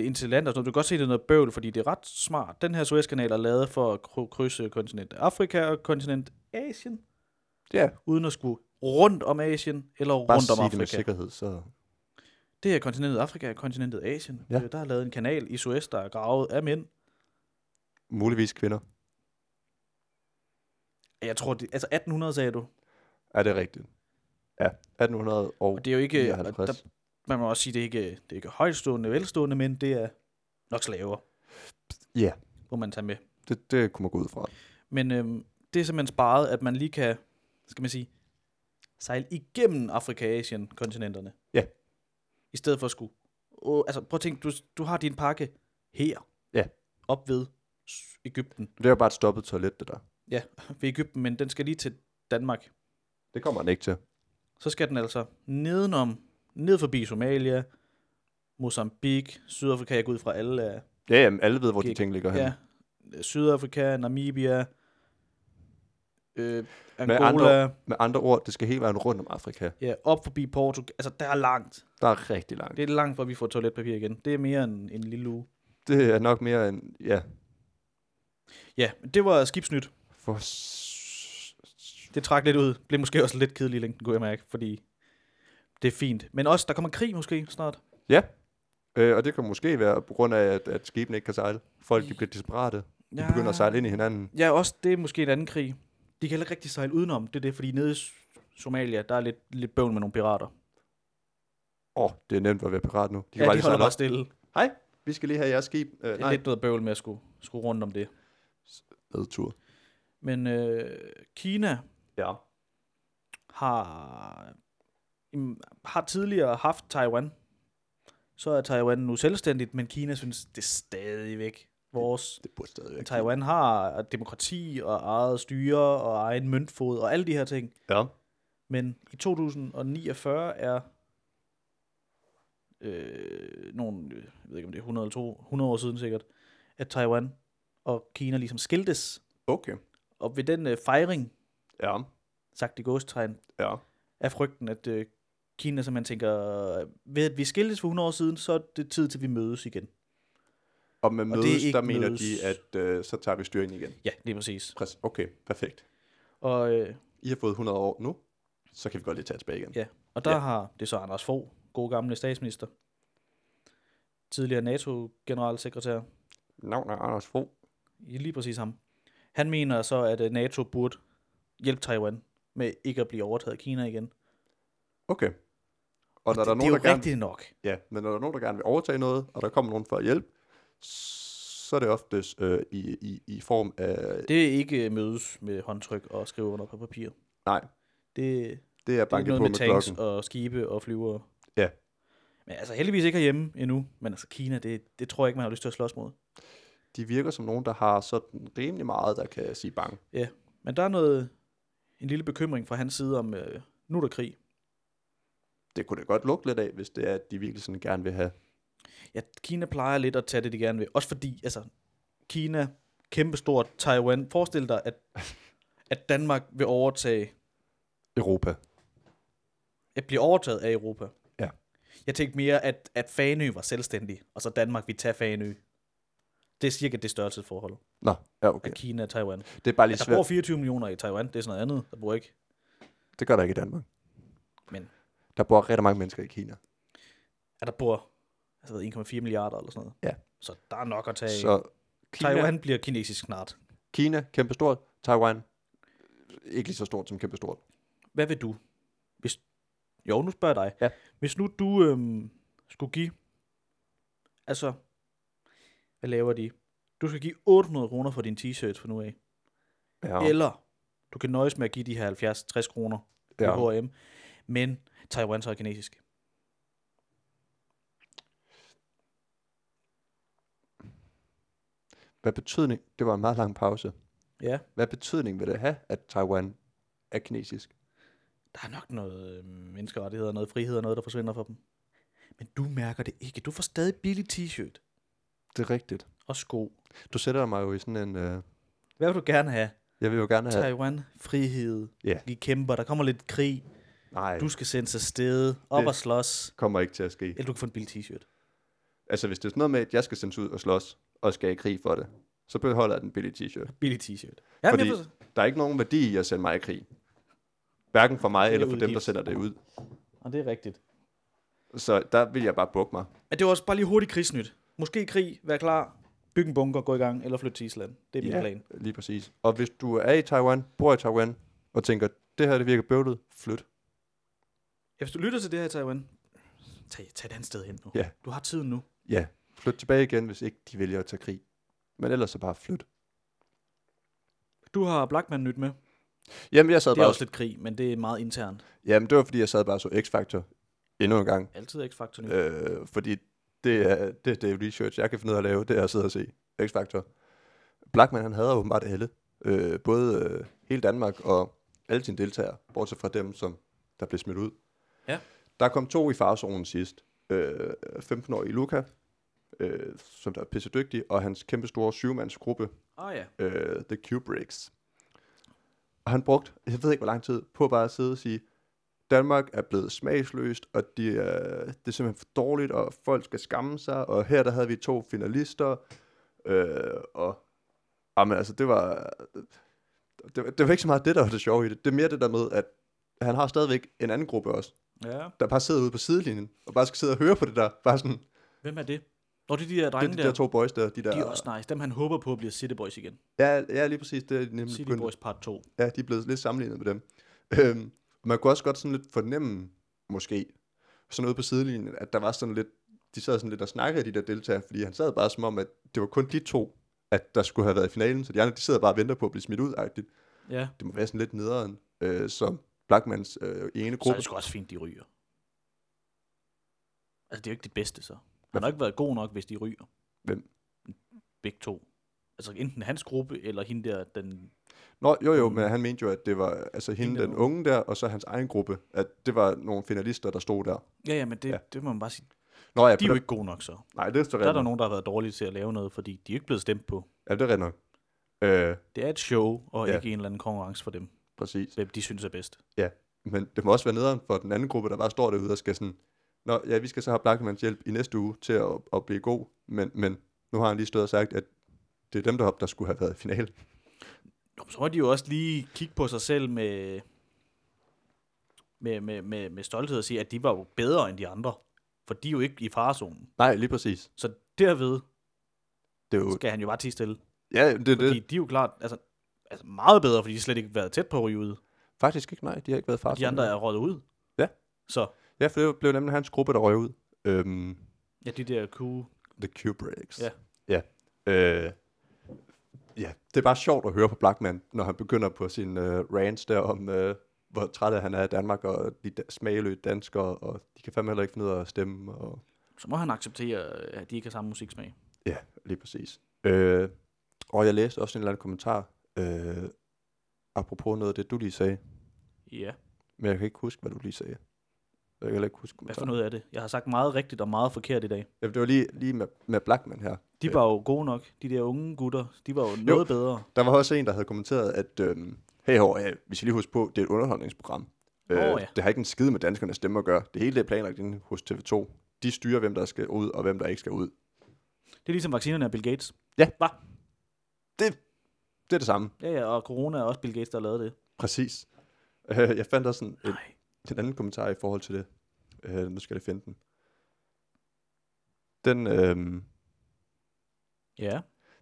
Speaker 2: ind til land og sådan noget. Du kan godt se, det er noget bøvl, fordi det er ret smart. Den her Suezkanal er lavet for at kry- krydse kontinent Afrika og kontinent Asien,
Speaker 1: Ja,
Speaker 2: uden at skulle rundt om Asien eller
Speaker 1: bare
Speaker 2: rundt om
Speaker 1: sige det med
Speaker 2: Afrika.
Speaker 1: sikkerhed, så...
Speaker 2: Det er kontinentet Afrika og kontinentet Asien.
Speaker 1: Ja.
Speaker 2: Ja. Der er lavet en kanal i Suez, der er gravet af mænd.
Speaker 1: Muligvis kvinder.
Speaker 2: Jeg tror, det, altså 1800 sagde du.
Speaker 1: Er det rigtigt? Ja,
Speaker 2: øh,
Speaker 1: 1800 og...
Speaker 2: Og det er jo ikke... Og
Speaker 1: 59.
Speaker 2: der, man må også sige, det er ikke, det er ikke højstående, velstående mænd. Det er nok slaver,
Speaker 1: Ja,
Speaker 2: hvor man tager med.
Speaker 1: det, det kunne man gå ud fra.
Speaker 2: Men øhm, det er simpelthen sparet, at man lige kan, skal man sige, sejle igennem Afrika og Asien, kontinenterne.
Speaker 1: Ja.
Speaker 2: I stedet for at skulle... Åh, altså prøv at tænke, du, du har din pakke her.
Speaker 1: Ja.
Speaker 2: Op ved S- Ægypten.
Speaker 1: Det er jo bare et stoppet toilet, det der.
Speaker 2: Ja, ved Ægypten, men den skal lige til Danmark.
Speaker 1: Det kommer han ikke til.
Speaker 2: så skal den altså nedenom, ned forbi Somalia, Mozambique, Sydafrika, jeg går ud fra alle er,
Speaker 1: Ja, jamen, alle ved, hvor de
Speaker 2: Gik-
Speaker 1: ting ligger henne.
Speaker 2: ja, Sydafrika, Namibia,
Speaker 1: Med
Speaker 2: øh, Angola,
Speaker 1: andre-
Speaker 2: andre...
Speaker 1: Med andre ord, det skal hele vejen rundt om Afrika.
Speaker 2: ja, op forbi Portugal, altså der er langt.
Speaker 1: Der er rigtig langt.
Speaker 2: Det er langt, hvor vi får toiletpapir igen. Det er mere end en lille uge.
Speaker 1: Det er nok mere end... Ja,
Speaker 2: Ja, det var skibsnyt.
Speaker 1: for... s- s-
Speaker 2: Det trak lidt ud. Blev måske også lidt kedelig i længden, kunne jeg mærke, fordi det er fint. Men også, der kommer krig måske snart.
Speaker 1: Ja. Øh, og det kan måske være på grund af, at, at skibene ikke kan sejle. Folk de bliver desperate. De ja. begynder at sejle ind i hinanden.
Speaker 2: Ja, også det er måske en anden krig. De kan heller ikke rigtig sejle udenom. Det er det, fordi nede i S- Somalia, der er lidt, lidt bøvl med nogle pirater. De
Speaker 1: Åh, oh, det er nemt at være pirat nu. De kan
Speaker 2: ja,
Speaker 1: bare
Speaker 2: de
Speaker 1: lige
Speaker 2: holder
Speaker 1: sejle
Speaker 2: bare
Speaker 1: op.
Speaker 2: stille.
Speaker 1: Hej, vi skal lige have jeres skib. Øh,
Speaker 2: Det er
Speaker 1: nej,
Speaker 2: lidt noget bøvl med at skulle, skulle rundt om det.
Speaker 1: lidt... tur.
Speaker 2: Men øh, Kina
Speaker 1: Ja.
Speaker 2: har, mm, har tidligere haft Taiwan. Så er Taiwan nu selvstændigt, men Kina synes, det er stadigvæk vores.
Speaker 1: Det burde stadigvæk.
Speaker 2: Taiwan har demokrati og eget styre og egen møntfod og alle de her ting.
Speaker 1: Ja.
Speaker 2: Men i 2049 er øh, nogle, øh, jeg ved ikke om det er 100 eller 200 100 år siden sikkert, at Taiwan og Kina ligesom skiltes.
Speaker 1: Okay.
Speaker 2: Og ved den øh, fejring,
Speaker 1: Ja.
Speaker 2: sagt i gåstegn,
Speaker 1: Ja.
Speaker 2: er frygten, at øh, Kina simpelthen tænker, øh, ved at vi skiltes for 100 år siden, så er det tid til, vi mødes igen.
Speaker 1: Og med
Speaker 2: det er
Speaker 1: mødes,
Speaker 2: ikke
Speaker 1: der mener
Speaker 2: mødes.
Speaker 1: de, at øh, så tager vi styringen igen.
Speaker 2: Ja, lige præcis.
Speaker 1: Præcis. Okay, perfekt.
Speaker 2: Og, øh,
Speaker 1: I har fået 100 år nu, så kan vi godt lige tage det tilbage igen.
Speaker 2: ja, og der
Speaker 1: Ja.
Speaker 2: ja. har det er så Anders Fogh, god gamle statsminister, tidligere NATO-generalsekretær,
Speaker 1: Navnet er Anders Fogh.
Speaker 2: Ja, lige præcis ham. Han mener så, at øh, NATO burde hjælpe Taiwan med ikke at blive overtaget af Kina igen.
Speaker 1: Okay. Og når
Speaker 2: det,
Speaker 1: der er nogen,
Speaker 2: det
Speaker 1: der
Speaker 2: er jo
Speaker 1: gerne,
Speaker 2: rigtigt nok.
Speaker 1: ja, men når der er nogen, der gerne vil overtage noget, og der kommer nogen for at hjælpe, så er det oftest øh, i, i, i form af...
Speaker 2: Det er ikke øh, mødes med håndtryk og skrive under på papir.
Speaker 1: Nej,
Speaker 2: Det,
Speaker 1: det er
Speaker 2: det er
Speaker 1: banket på
Speaker 2: noget
Speaker 1: med,
Speaker 2: med tanks
Speaker 1: klokken.
Speaker 2: og skibe og flyvere.
Speaker 1: Ja.
Speaker 2: Men altså heldigvis ikke herhjemme endnu. Men altså Kina, det, det tror jeg ikke, man har lyst til at slås mod.
Speaker 1: De virker som nogen, der har sådan rimelig meget, der kan sige bang.
Speaker 2: Men der er noget, en lille bekymring fra hans side om, øh, nu er der krig.
Speaker 1: Det kunne det godt lugte lidt af, hvis det er, at de virkelig sådan gerne vil have...
Speaker 2: Ja, Kina plejer lidt at tage det, de gerne vil. Også fordi, altså, Kina kæmpestort Taiwan. Forestil dig, at, at Danmark vil overtage,
Speaker 1: Europa.
Speaker 2: at blive overtaget af Europa.
Speaker 1: Ja.
Speaker 2: Jeg tænkte mere, at, at Fanø var selvstændig, og så Danmark ville tage Fanø. Det er cirka det størrelsesforhold
Speaker 1: Nå, ja, okay.
Speaker 2: af Kina og Taiwan.
Speaker 1: Det er bare
Speaker 2: Ja,
Speaker 1: lidt
Speaker 2: Altså, der bor
Speaker 1: svært.
Speaker 2: 24 millioner i Taiwan, det er sådan noget andet. Der bor ikke.
Speaker 1: Det gør der ikke i Danmark.
Speaker 2: Men-
Speaker 1: Der bor rigtig mange mennesker i Kina.
Speaker 2: Ja, der bor altså, hvad, 1,4 milliarder eller sådan noget.
Speaker 1: Ja.
Speaker 2: Så der er nok at tage. Så
Speaker 1: Så Kina, Taiwan.
Speaker 2: Taiwan bliver kinesisk snart.
Speaker 1: Kina, kæmpestort. Taiwan, ikke lige så stort som kæmpestort.
Speaker 2: Hvad vil du? Hvis, jo, nu spørger jeg dig.
Speaker 1: Ja.
Speaker 2: Hvis nu du øhm, skulle give, altså, hvad laver de? Du skal give 800 kroner for din t-shirt for nu af. Ja. Eller du kan nøjes med at give de her 70-60 kroner på
Speaker 1: ja.
Speaker 2: H&M. Men Taiwan så er kinesisk.
Speaker 1: Hvad betydning, det var en meget lang pause.
Speaker 2: Ja,
Speaker 1: Hvad betydning vil det have, at Taiwan er kinesisk?
Speaker 2: der er nok noget øh, menneskerettigheder, noget frihed og noget, der forsvinder for dem. Men du mærker det ikke. Du får stadig billig t-shirt
Speaker 1: Det er rigtigt.
Speaker 2: og sko.
Speaker 1: Du sætter mig jo i sådan en... Øh,
Speaker 2: Hvad vil du gerne have?
Speaker 1: jeg vil jo gerne have...
Speaker 2: Taiwan, frihed.
Speaker 1: Ja.
Speaker 2: Vi kæmper, der kommer lidt krig.
Speaker 1: Nej,
Speaker 2: Du
Speaker 1: du
Speaker 2: skal sendes afsted, op
Speaker 1: Det-
Speaker 2: og slås.
Speaker 1: kommer ikke til at ske.
Speaker 2: Eller du kan få en billig t-shirt.
Speaker 1: Altså, hvis det er sådan noget med, at jeg skal sendes ud og slås, og skal i krig for det, så beholder jeg den billige t-shirt.
Speaker 2: Billig t-shirt.
Speaker 1: Fordi-
Speaker 2: Ja, Fordi... men, jeg forstår-
Speaker 1: Der er ikke nogen værdi i at sende mig i krig. Hverken for mig
Speaker 2: Det er
Speaker 1: eller for dem, der
Speaker 2: udgift.
Speaker 1: sender det ud.
Speaker 2: og det er rigtigt.
Speaker 1: Så der vil jeg bare bukke mig.
Speaker 2: Men det var også bare lige hurtigt krigsnyt. Måske krig, vær klar, byg en bunker, gå i gang, eller flyt til Island. Det er min
Speaker 1: Ja.
Speaker 2: ja. plan.
Speaker 1: Lige præcis. Og hvis du er i Taiwan, bor i Taiwan, og tænker, det her det virker bøvlet, flyt.
Speaker 2: Ja, Hvis du lytter til det her, Taiwan, tag, tag et andet sted hen nu.
Speaker 1: Ja.
Speaker 2: Du har tiden nu.
Speaker 1: Ja, flyt tilbage igen, hvis ikke de vælger at tage krig. Men ellers så bare flyt.
Speaker 2: Du har Blackman nyt med. Det
Speaker 1: Jamen, jeg sad
Speaker 2: er
Speaker 1: bare...
Speaker 2: også lidt krig, men det er meget internt.
Speaker 1: Jamen, det var, fordi jeg sad bare og så X-Factor endnu en gang.
Speaker 2: Altid X-Factor nyt.
Speaker 1: Øh, fordi det er, det, det er research, jeg kan finde ud af at lave, det er at sidde og se X-Factor. Blackman, han hader åbenbart alle. Øh, både øh, hele Danmark og alle sine deltagere, bortset fra dem, som der blev smidt ud.
Speaker 2: Ja.
Speaker 1: Der kom to i farzonen sidst. Øh, 15-årige Luca, øh, som der er pisse dygtig, og hans kæmpe store syvmandsgruppe,
Speaker 2: Åh oh, ja.
Speaker 1: øh, The Kubricks. Og han brugte, jeg ved ikke hvor lang tid, på bare at sidde og sige, Danmark er blevet smagsløst, og de, øh, det er simpelthen for dårligt, og folk skal skamme sig, og her der havde vi to finalister, øh, og jamen, altså, det var, det, var- det var ikke så meget det, der var det sjove i det. Det er mere det der med, at han har stadigvæk en anden gruppe også,
Speaker 2: Ja.
Speaker 1: der bare sidder ude på sidelinjen, og bare skal sidde og høre på det der. Bare sådan, det
Speaker 2: Hvem er det? Nå, det er de der
Speaker 1: er
Speaker 2: drenge
Speaker 1: de
Speaker 2: der.
Speaker 1: der to boys der. De der Mm,
Speaker 2: De er også nice. Dem han håber på bliver City Boys igen.
Speaker 1: ja, ja, lige præcis, det er de nemlig
Speaker 2: City
Speaker 1: begyndt-
Speaker 2: Boys part 2.
Speaker 1: Ja, de er blevet lidt sammenlignet med dem. Øhm, man kunne også godt sådan lidt fornemme, måske, sådan ude på sidelinjen, at der var sådan lidt, de sad sådan lidt og snakkede, de der deltagere, fordi han sad bare som om, at det var kun de to, at der skulle have været i finalen, så de andre, de sidder bare og venter på at blive smidt ud, -agtigt.
Speaker 2: Ja.
Speaker 1: Det må være sådan lidt nederen, øh, som Blackmans øh, ene
Speaker 2: Så er
Speaker 1: gruppe.
Speaker 2: det sgu også fint, de ryger. Altså, det er jo ikke det bedste, så. Han har ikke været god nok, hvis de ryger.
Speaker 1: Hvem?
Speaker 2: Begge to. Altså, enten hans gruppe, eller hende der, den...
Speaker 1: Nå, jo jo, men han mente jo, at det var altså hende, den unge der, og så hans egen gruppe, at det var nogle finalister, der stod der.
Speaker 2: Ja, ja, men det,
Speaker 1: Ja.
Speaker 2: ja. det må man bare sige.
Speaker 1: Nå ja,
Speaker 2: De er
Speaker 1: på
Speaker 2: jo
Speaker 1: den,
Speaker 2: ikke gode nok, så.
Speaker 1: nej, det er så
Speaker 2: Der er der
Speaker 1: rigtigt.
Speaker 2: nogen, der har været dårlige til at lave noget, fordi de er jo ikke blevet stemt på.
Speaker 1: Ja, det er rigtigt nok. Øh,
Speaker 2: Det er et show, og
Speaker 1: Ja.
Speaker 2: ja. ikke en eller anden konkurrence for dem,
Speaker 1: præcis.
Speaker 2: hvem de synes er bedst.
Speaker 1: Men det må også være nederen for den anden gruppe, der bare står derude og skal sådan, Nå, ja, vi skal så have Blackmans hjælp i næste uge til at, at blive god, men, men nu har han lige stået og sagt, at det er dem deroppe, der skulle have været i finalen.
Speaker 2: Jo, så må de jo også lige kigge på sig selv med, med, med, med, med stolthed og sige, at de var jo bedre end de andre. For de er jo ikke i farezonen.
Speaker 1: Nej, lige præcis.
Speaker 2: Så derved
Speaker 1: Det er jo,
Speaker 2: skal han jo bare tige stille.
Speaker 1: ja, det er
Speaker 2: Fordi
Speaker 1: det.
Speaker 2: de er jo klart altså, altså meget bedre, fordi de slet ikke har været tæt på at ryge ud.
Speaker 1: Faktisk ikke, nej, de har ikke været far.
Speaker 2: De andre er røget ud.
Speaker 1: Ja.
Speaker 2: Så
Speaker 1: Ja, for det blev nemlig hans gruppe, der røg ud. Øhm,
Speaker 2: ja, de der kunne...
Speaker 1: The Kubricks.
Speaker 2: Ja.
Speaker 1: Ja. Øh, ja, det er bare sjovt at høre på Blackman, når han begynder på sin øh, rants der om, øh, hvor træt han er af Danmark, og de da- smageløse danskere, og de kan fandme heller ikke finde ud af at stemme, og
Speaker 2: Så må han acceptere, at de ikke har samme musiksmag.
Speaker 1: Ja, lige præcis. Øh, og jeg læste også en eller anden kommentar, øh, apropos noget af det, du lige sagde,
Speaker 2: Ja,
Speaker 1: men jeg kan ikke huske, hvad du lige sagde. Jeg kan heller ikke huske
Speaker 2: hvad for
Speaker 1: kommentaren.
Speaker 2: noget af det? Jeg har sagt meget rigtigt og meget forkert i dag.
Speaker 1: Jamen, det var lige, lige med, med Blackman her.
Speaker 2: De var jo gode nok, de der unge gutter. De var jo noget jo. bedre.
Speaker 1: Der var også en, der havde kommenteret, at øhm, hey, hår, ja, vi skal lige huske på, det er et underholdningsprogram. Øh,
Speaker 2: Åh, ja.
Speaker 1: Det har ikke en skide med danskernes stemme at gøre. Det hele det er planlagt inde hos TV2. De styrer, hvem der skal ud, og hvem der ikke skal ud.
Speaker 2: Det er ligesom vaccinerne af Bill Gates.
Speaker 1: Ja.
Speaker 2: Hva?
Speaker 1: Det, det er det samme.
Speaker 2: Ja, ja, og corona er også Bill Gates, der har lavet det.
Speaker 1: Præcis. Øh, jeg fandt også en, en,
Speaker 2: Nej.
Speaker 1: en anden kommentar i forhold til det. Øh, nu skal jeg lige finde den. Den, øh,
Speaker 2: Ja,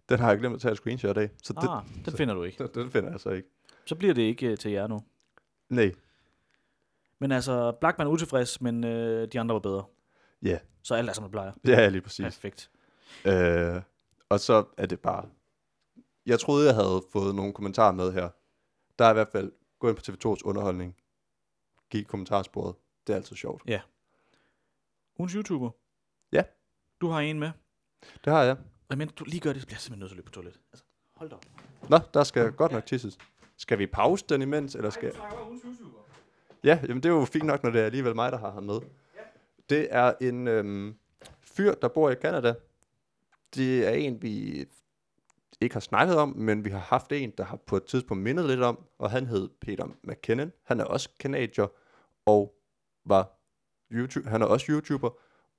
Speaker 1: den har jeg glemt at tage et screenshot af, så det,
Speaker 2: ah, den finder du ikke.
Speaker 1: den, den finder jeg så ikke.
Speaker 2: Så bliver det ikke øh, til jer nu.
Speaker 1: Nej.
Speaker 2: Men altså, Blackman er utilfreds, men øh, de andre var bedre.
Speaker 1: Ja.
Speaker 2: Så alt er, som det plejer.
Speaker 1: Ja, lige præcis.
Speaker 2: Perfekt.
Speaker 1: Øh, og så er det bare... Jeg troede, jeg havde fået nogle kommentarer med her. Der er i hvert fald... Gå ind på TV2's underholdning. Giv kommentarsporet. Det er altid sjovt.
Speaker 2: Ugens YouTuber.
Speaker 1: Ja.
Speaker 2: Du har en med.
Speaker 1: Det har jeg.
Speaker 2: Og men du lige gør det, så bliver jeg simpelthen nødt til at løbe på toilettet. Altså, hold da op.
Speaker 1: Nå, der skal godt nok tisses. Skal vi pause den imens, eller skal... Ja, jamen det er jo fint nok, når det er alligevel mig, der har ham med. Det er en øhm, fyr, der bor i Canada. Det er en, vi ikke har snakket om, men vi har haft en, der har på et tidspunkt mindet lidt om, og han hed Peter McKinnon. Han er også kanadier, og var YouTube, han er også YouTuber,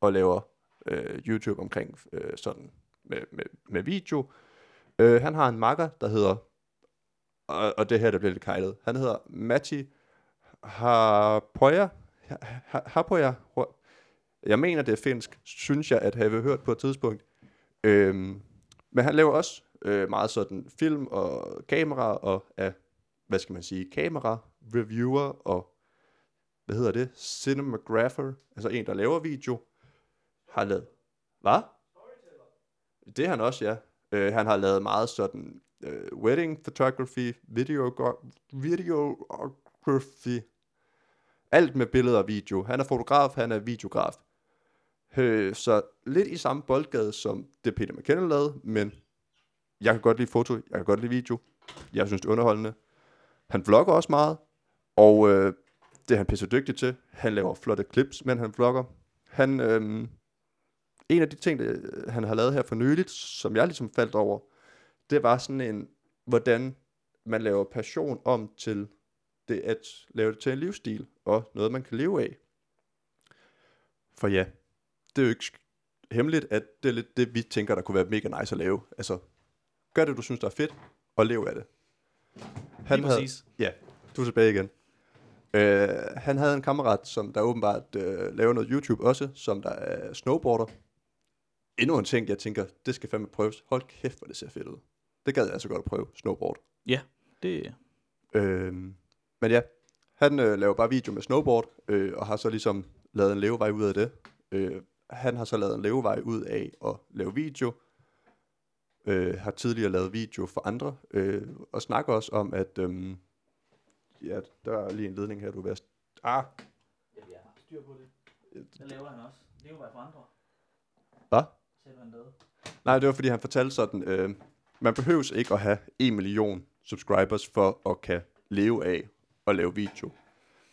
Speaker 1: og laver øh, YouTube omkring øh, sådan med, med, med video. Øh, han har en makker, der hedder, og, og det her, der bliver lidt kejlet, han hedder Matti Harpoja. Ha- ha- Harpoja. Hor- Jeg mener, det er finsk, synes jeg, at have hørt på et tidspunkt. Øhm, men han laver også øh, meget sådan film og kamera og af, hvad skal man sige, kamera, reviewer og, hvad hedder det, cinematographer, altså en, der laver video, har lavet, hvad? Det er han også, ja. Øh, han har lavet meget sådan øh, wedding photography, video, videography, alt med billeder og video. Han er fotograf, han er videograf. Øh, så lidt i samme boldgade som det Peter McKinnon lavede, men jeg kan godt lide foto, jeg kan godt lide video, jeg synes det er underholdende. Han vlogger også meget, og øh, det er han pisse dygtig til. Han laver flotte clips, men han vlogger. Han, øh, en af de ting, der, han har lavet her for nyligt, som jeg ligesom faldt over, det var sådan en, hvordan man laver passion om til det at lave det til en livsstil, og noget, man kan leve af. For ja, det er jo ikke sk- hemmeligt, at det er lidt det, vi tænker, der kunne være mega nice at lave. Altså, gør det, du synes, der er fedt, og lev af det. Han
Speaker 2: Lige
Speaker 1: havde,
Speaker 2: præcis.
Speaker 1: ja, du er tilbage igen. Øh, han havde en kammerat, som der åbenbart øh, laver noget YouTube også, som der er snowboarder. Endnu en ting, jeg tænker, det skal fandme prøves. Hold kæft, hvor det ser fedt ud. Det gad jeg altså godt at prøve, snowboard.
Speaker 2: Ja, det...
Speaker 1: Øhm, men ja, han øh, laver bare video med snowboard, øh, og har så ligesom lavet en levevej ud af det. Øh, han har så lavet en levevej ud af at lave video, øh, har tidligere lavet video for andre, øh, og snakker også om, at øhm, ja, der er lige en ledning her, du er ved at... Ah,
Speaker 2: Jeg har styr på det. Det laver han også. Levevej for andre.
Speaker 1: Øh, hvad?
Speaker 2: Selv han lavede.
Speaker 1: Nej, det var fordi, han fortalte sådan, øh, man behøves ikke at have 1 million subscribers for at kan leve af at lave video.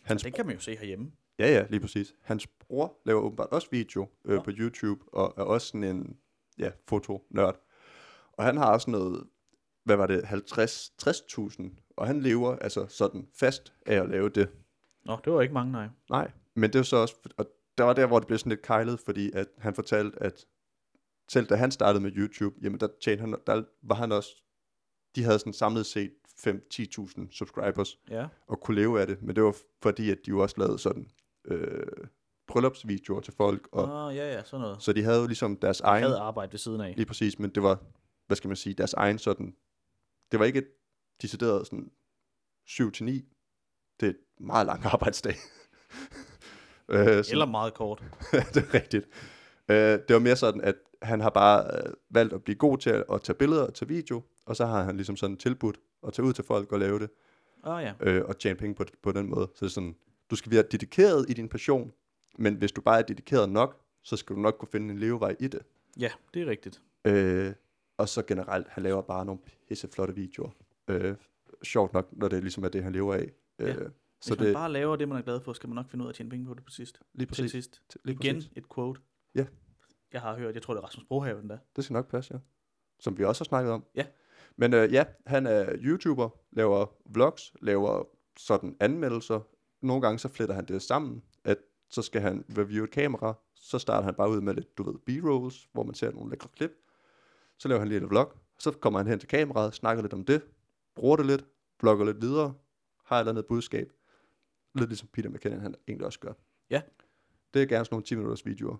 Speaker 1: Hans
Speaker 2: Den kan man jo se herhjemme.
Speaker 1: Ja, ja, lige præcis. Hans bror laver åbenbart også video øh,
Speaker 2: Nå.
Speaker 1: på YouTube, og er også sådan en ja, fotonørd. Og han har også noget, hvad var det, 50 60.000, og han lever altså sådan fast af at lave det.
Speaker 2: Nå, det var ikke mange, nej.
Speaker 1: Nej, men det var så også, og der var der, hvor det blev sådan lidt kejlet, fordi at han fortalte, at selv da han startede med YouTube, jamen der, tjente han, der var han også, de havde sådan samlet set 5-10.000 subscribers,
Speaker 2: Ja.
Speaker 1: og kunne leve af det, men det var fordi, at de jo også lavede sådan øh, bryllupsvideoer til folk, og,
Speaker 2: Åh, oh, ja, ja, sådan noget.
Speaker 1: så de havde jo ligesom deres egen,
Speaker 2: Jeg havde arbejde ved siden af.
Speaker 1: lige præcis, men det var, hvad skal man sige, deres egen sådan, det var ikke et decideret sådan 7-9, det er et meget lang arbejdsdag. øh, så-
Speaker 2: Eller meget kort.
Speaker 1: det er rigtigt. Øh, det var mere sådan, at han har bare øh, valgt at blive god til at, at tage billeder og tage video, og så har han ligesom sådan tilbudt at tage ud til folk og lave det
Speaker 2: Åh, oh, ja.
Speaker 1: øh, og tjene penge på, på den måde. Så det er sådan, du skal være dedikeret i din passion, men hvis du bare er dedikeret nok, så skal du nok kunne finde en levevej i det.
Speaker 2: Ja, det er rigtigt.
Speaker 1: Øh, og så generelt, han laver bare nogle pisseflotte videoer. Øh, sjovt nok, når det ligesom er det, han lever af. Øh,
Speaker 2: Ja.
Speaker 1: Så
Speaker 2: Hvis man
Speaker 1: det
Speaker 2: bare laver det, man er glad for, skal man nok finde ud af at tjene penge på det på sidst.
Speaker 1: lige
Speaker 2: Til
Speaker 1: præcis.
Speaker 2: sidst.
Speaker 1: Lige
Speaker 2: Igen
Speaker 1: præcis.
Speaker 2: et quote.
Speaker 1: Ja.
Speaker 2: jeg har hørt. Jeg tror, det er Rasmus Brohaven, der.
Speaker 1: Det skal nok passe, ja. Som vi også har snakket om.
Speaker 2: Ja.
Speaker 1: Men øh, ja, han er YouTuber, laver vlogs, laver sådan anmeldelser. Nogle gange så fletter han det sammen, at så skal han review et kamera, så starter han bare ud med lidt, du ved, b-rolls, hvor man ser nogle lækre klip. Så laver han lige et vlog, så kommer han hen til kameraet, snakker lidt om det, bruger det lidt, vlogger lidt videre, har et eller andet budskab. Lidt ligesom Peter McKinnon, han egentlig også gør.
Speaker 2: Ja.
Speaker 1: Det er gerne sådan nogle 10 minutters videoer.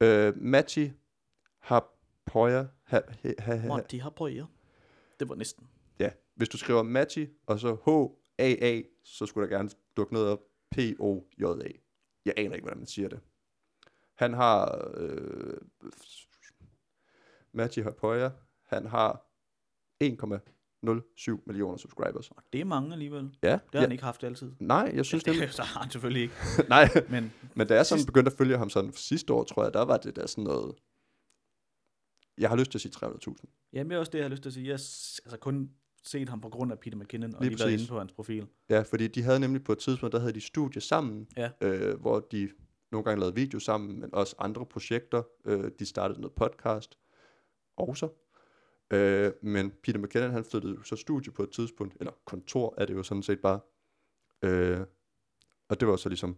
Speaker 1: Øh, Matti Hapoya, ha, ha, ha, ha,
Speaker 2: Monty har prøvet. Det var næsten.
Speaker 1: ja, hvis du skriver Matti, og så H-A-A, så skulle der gerne dukke noget op. P-O-J-A. Jeg aner ikke, hvordan man siger det. Han har... Øh, Matti Hapoya, han har 1,07 millioner subscribers.
Speaker 2: Og det er mange alligevel. Det
Speaker 1: Ja,
Speaker 2: har
Speaker 1: ja.
Speaker 2: han ikke haft altid.
Speaker 1: Nej, jeg synes
Speaker 2: Ja,
Speaker 1: ja,
Speaker 2: det så har han selvfølgelig ikke.
Speaker 1: det... nej,
Speaker 2: Men
Speaker 1: men da jeg sådan begyndte at følge ham sådan sidste år, tror jeg, der var det der sådan noget... Jeg har lyst til at sige 300.000.
Speaker 2: jamen, det er også det, jeg har lyst til at sige. Jeg har s- altså, kun set ham på grund af Peter McKinnon, og
Speaker 1: Lige
Speaker 2: lige, lige været
Speaker 1: præcis.
Speaker 2: inde på hans profil.
Speaker 1: Ja, fordi de havde nemlig på et tidspunkt, der havde de studie sammen,
Speaker 2: Ja.
Speaker 1: øh, hvor de nogle gange lavede video sammen, men også andre projekter. Øh, de startede noget podcast også. Øh, men Peter McKinnon, han flyttede jo så studie på et tidspunkt, eller kontor er det jo sådan set bare. Øh, og det var så ligesom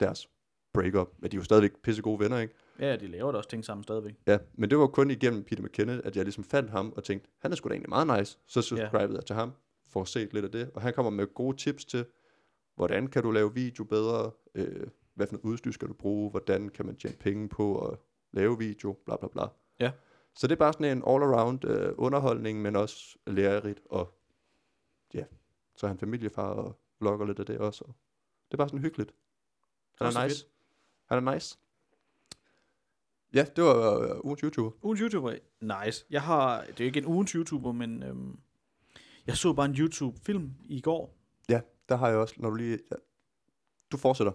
Speaker 1: deres breakup. Men de er jo stadigvæk pisse gode venner, ikke?
Speaker 2: Ja, de laver da også ting sammen stadigvæk.
Speaker 1: Ja, men det var kun igennem Peter McKinnon, at jeg ligesom fandt ham og tænkte, han er sgu da egentlig meget nice. Så subscribede jeg til ham, for at se lidt af det. Og han kommer med gode tips til, hvordan kan du lave video bedre, øh, hvad for noget udstyr skal du bruge, hvordan kan man tjene penge på at lave video, bla bla bla.
Speaker 2: Ja.
Speaker 1: Så det er bare sådan en all-around øh, underholdning, men også lærerigt, og ja, så er han familiefar og vlogger lidt af det også. Og det er bare sådan hyggeligt. Han
Speaker 2: Det er
Speaker 1: er
Speaker 2: så
Speaker 1: nice. Han er nice. Ja, det var øh, ugens YouTuber.
Speaker 2: Ugens YouTuber? Nice. Jeg har, det er ikke en ugens YouTuber, men øhm, jeg så bare en YouTube-film i går
Speaker 1: Ja, der har jeg også, når du lige... Ja. Du fortsætter.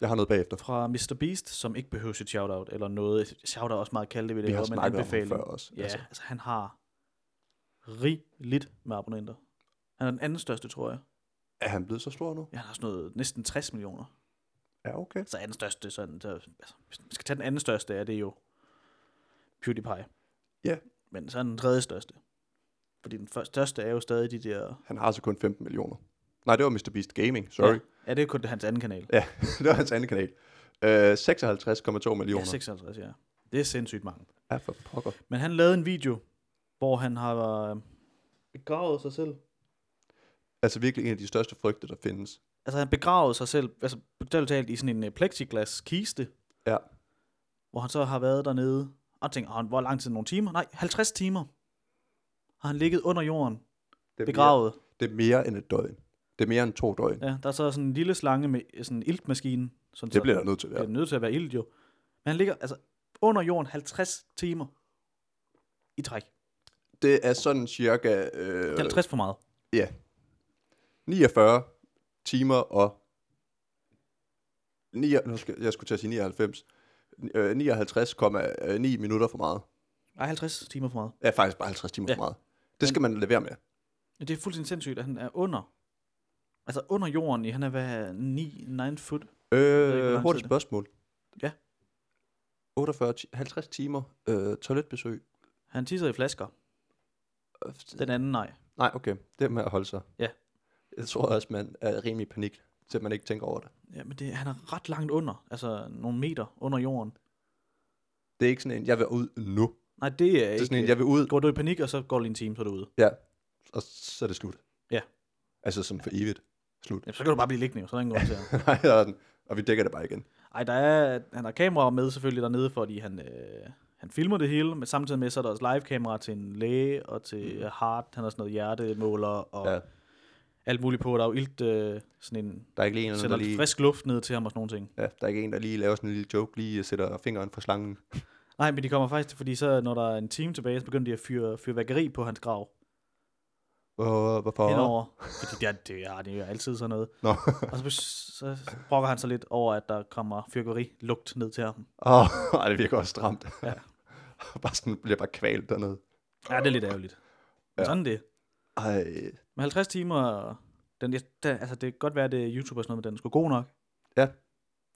Speaker 1: Jeg har noget bagefter.
Speaker 2: fra Mr. Beast, som ikke behøver sit shout-out, eller noget. Shout-out er også meget kaldt, det vil
Speaker 1: Vi
Speaker 2: jeg
Speaker 1: har
Speaker 2: høre, men
Speaker 1: snakket om ham
Speaker 2: anbefaling.
Speaker 1: før også.
Speaker 2: Ja, altså. altså han har rigeligt med abonnenter. Han er den anden største, tror jeg.
Speaker 1: Er han blevet så stor nu?
Speaker 2: Ja, han har sådan noget næsten 60 millioner.
Speaker 1: Ja, okay.
Speaker 2: Så er den største sådan, så, altså, hvis man skal tage den anden største, er det jo PewDiePie.
Speaker 1: Ja.
Speaker 2: Men så er den tredje største. Fordi den første største er jo stadig de der...
Speaker 1: Han har altså kun 15 millioner. Nej, det var Mr. Beast Gaming, sorry.
Speaker 2: Ja,
Speaker 1: Ja,
Speaker 2: ja det er kun hans anden kanal.
Speaker 1: ja det var hans anden kanal. Øh, 56,2 millioner.
Speaker 2: Ja, 56, ja. Det er sindssygt mange.
Speaker 1: Ja, for pokker.
Speaker 2: Men han lavede en video, hvor han har øh, begravet sig selv.
Speaker 1: Altså virkelig en af de største frygte, der findes.
Speaker 2: Altså han begravede sig selv, altså bogstaveligt talt i sådan en øh, plexiglas kiste,
Speaker 1: Ja.
Speaker 2: hvor han så har været dernede, og tænker, "Åh, hvor lang tid, nogle timer? Nej, 50 timer har han ligget under jorden,
Speaker 1: Det er
Speaker 2: begravet.
Speaker 1: Mere, det er mere end et døgn. Det er mere end to døgn. Ja,
Speaker 2: Ja, der er så sådan en lille slange med øh, sådan en iltmaskine. Sådan
Speaker 1: det bliver
Speaker 2: så,
Speaker 1: der nødt til at
Speaker 2: Det
Speaker 1: være.
Speaker 2: er nødt til at være ilt jo. Men han ligger altså under jorden 50 timer i træk.
Speaker 1: Det er sådan cirka øh,
Speaker 2: Det er 50 for meget.
Speaker 1: 49 timer og... 9, nu skal, jeg skulle til at sige 99. Øh, 59,9 minutter for meget.
Speaker 2: Nej, 50 timer for meget.
Speaker 1: Ja, faktisk bare 50 timer ja.
Speaker 2: Ja.
Speaker 1: for meget. Det skal man levere med.
Speaker 2: Ja, Det er fuldstændig sindssygt, at han er under. Altså under jorden i, han er hvad, 9, 9 foot. ved ikke, hvor
Speaker 1: Øh,
Speaker 2: lang
Speaker 1: hurtigt
Speaker 2: tid det
Speaker 1: spørgsmål.
Speaker 2: Ja.
Speaker 1: 48, ti- 50 timer øh, toiletbesøg.
Speaker 2: Han tisser i flasker.
Speaker 1: Øh,
Speaker 2: Den anden nej.
Speaker 1: Nej, okay. Det er med at holde sig.
Speaker 2: Ja.
Speaker 1: Jeg tror også, man er rimelig i panik, til man ikke tænker over det.
Speaker 2: Ja, men det, han er ret langt under. Altså nogle meter under jorden.
Speaker 1: Det er ikke sådan en, jeg vil ud nu.
Speaker 2: Nej, det er
Speaker 1: Det er
Speaker 2: ikke...
Speaker 1: sådan en, jeg vil ud,
Speaker 2: Går du i panik, og så går det lige en time, så er du ude.
Speaker 1: og så er det slut.
Speaker 2: Ja.
Speaker 1: Altså som for evigt. Slut.
Speaker 2: Jamen, så kan du bare blive liggende, jo. så er der ingen grund til at...
Speaker 1: Nej, der er den. Og vi dækker det bare igen.
Speaker 2: Ej, der er, han har kameraer med selvfølgelig dernede, fordi han, øh, han filmer det hele, men samtidig med, så er der også live-kamera til en læge og til mm. heart, han har sådan noget hjertemåler og ja.
Speaker 1: Ja.
Speaker 2: alt muligt på. Der er jo ilt, øh, sådan en,
Speaker 1: Der er ikke lige en, eller
Speaker 2: sender
Speaker 1: anden, der lige...
Speaker 2: frisk luft ned til ham og sådan nogle ting.
Speaker 1: Ja, der er ikke en, der lige laver sådan en lille joke, lige sætter fingeren fra slangen.
Speaker 2: Nej, men de kommer faktisk til, fordi så når der er en time tilbage, så begynder de at fyre fyrværkeri på hans grav
Speaker 1: Åh, hvorfor?
Speaker 2: oh. henover. Fordi det er, det, er, det er jo altid sådan noget.
Speaker 1: Nå.
Speaker 2: Og så, så brokker han sig lidt over, at der kommer fyrværkeri lugt ned til ham.
Speaker 1: Åh, oh, det virker også stramt.
Speaker 2: Ja.
Speaker 1: bare sådan bliver bare kvalt dernede.
Speaker 2: Ja, det er lidt ærgerligt. Ja.
Speaker 1: Ja.
Speaker 2: Sådan er det.
Speaker 1: Ej,
Speaker 2: Men 50 timer, den, jeg- den, altså det kan godt være, at det er YouTube og sådan noget, men den er sgu god nok.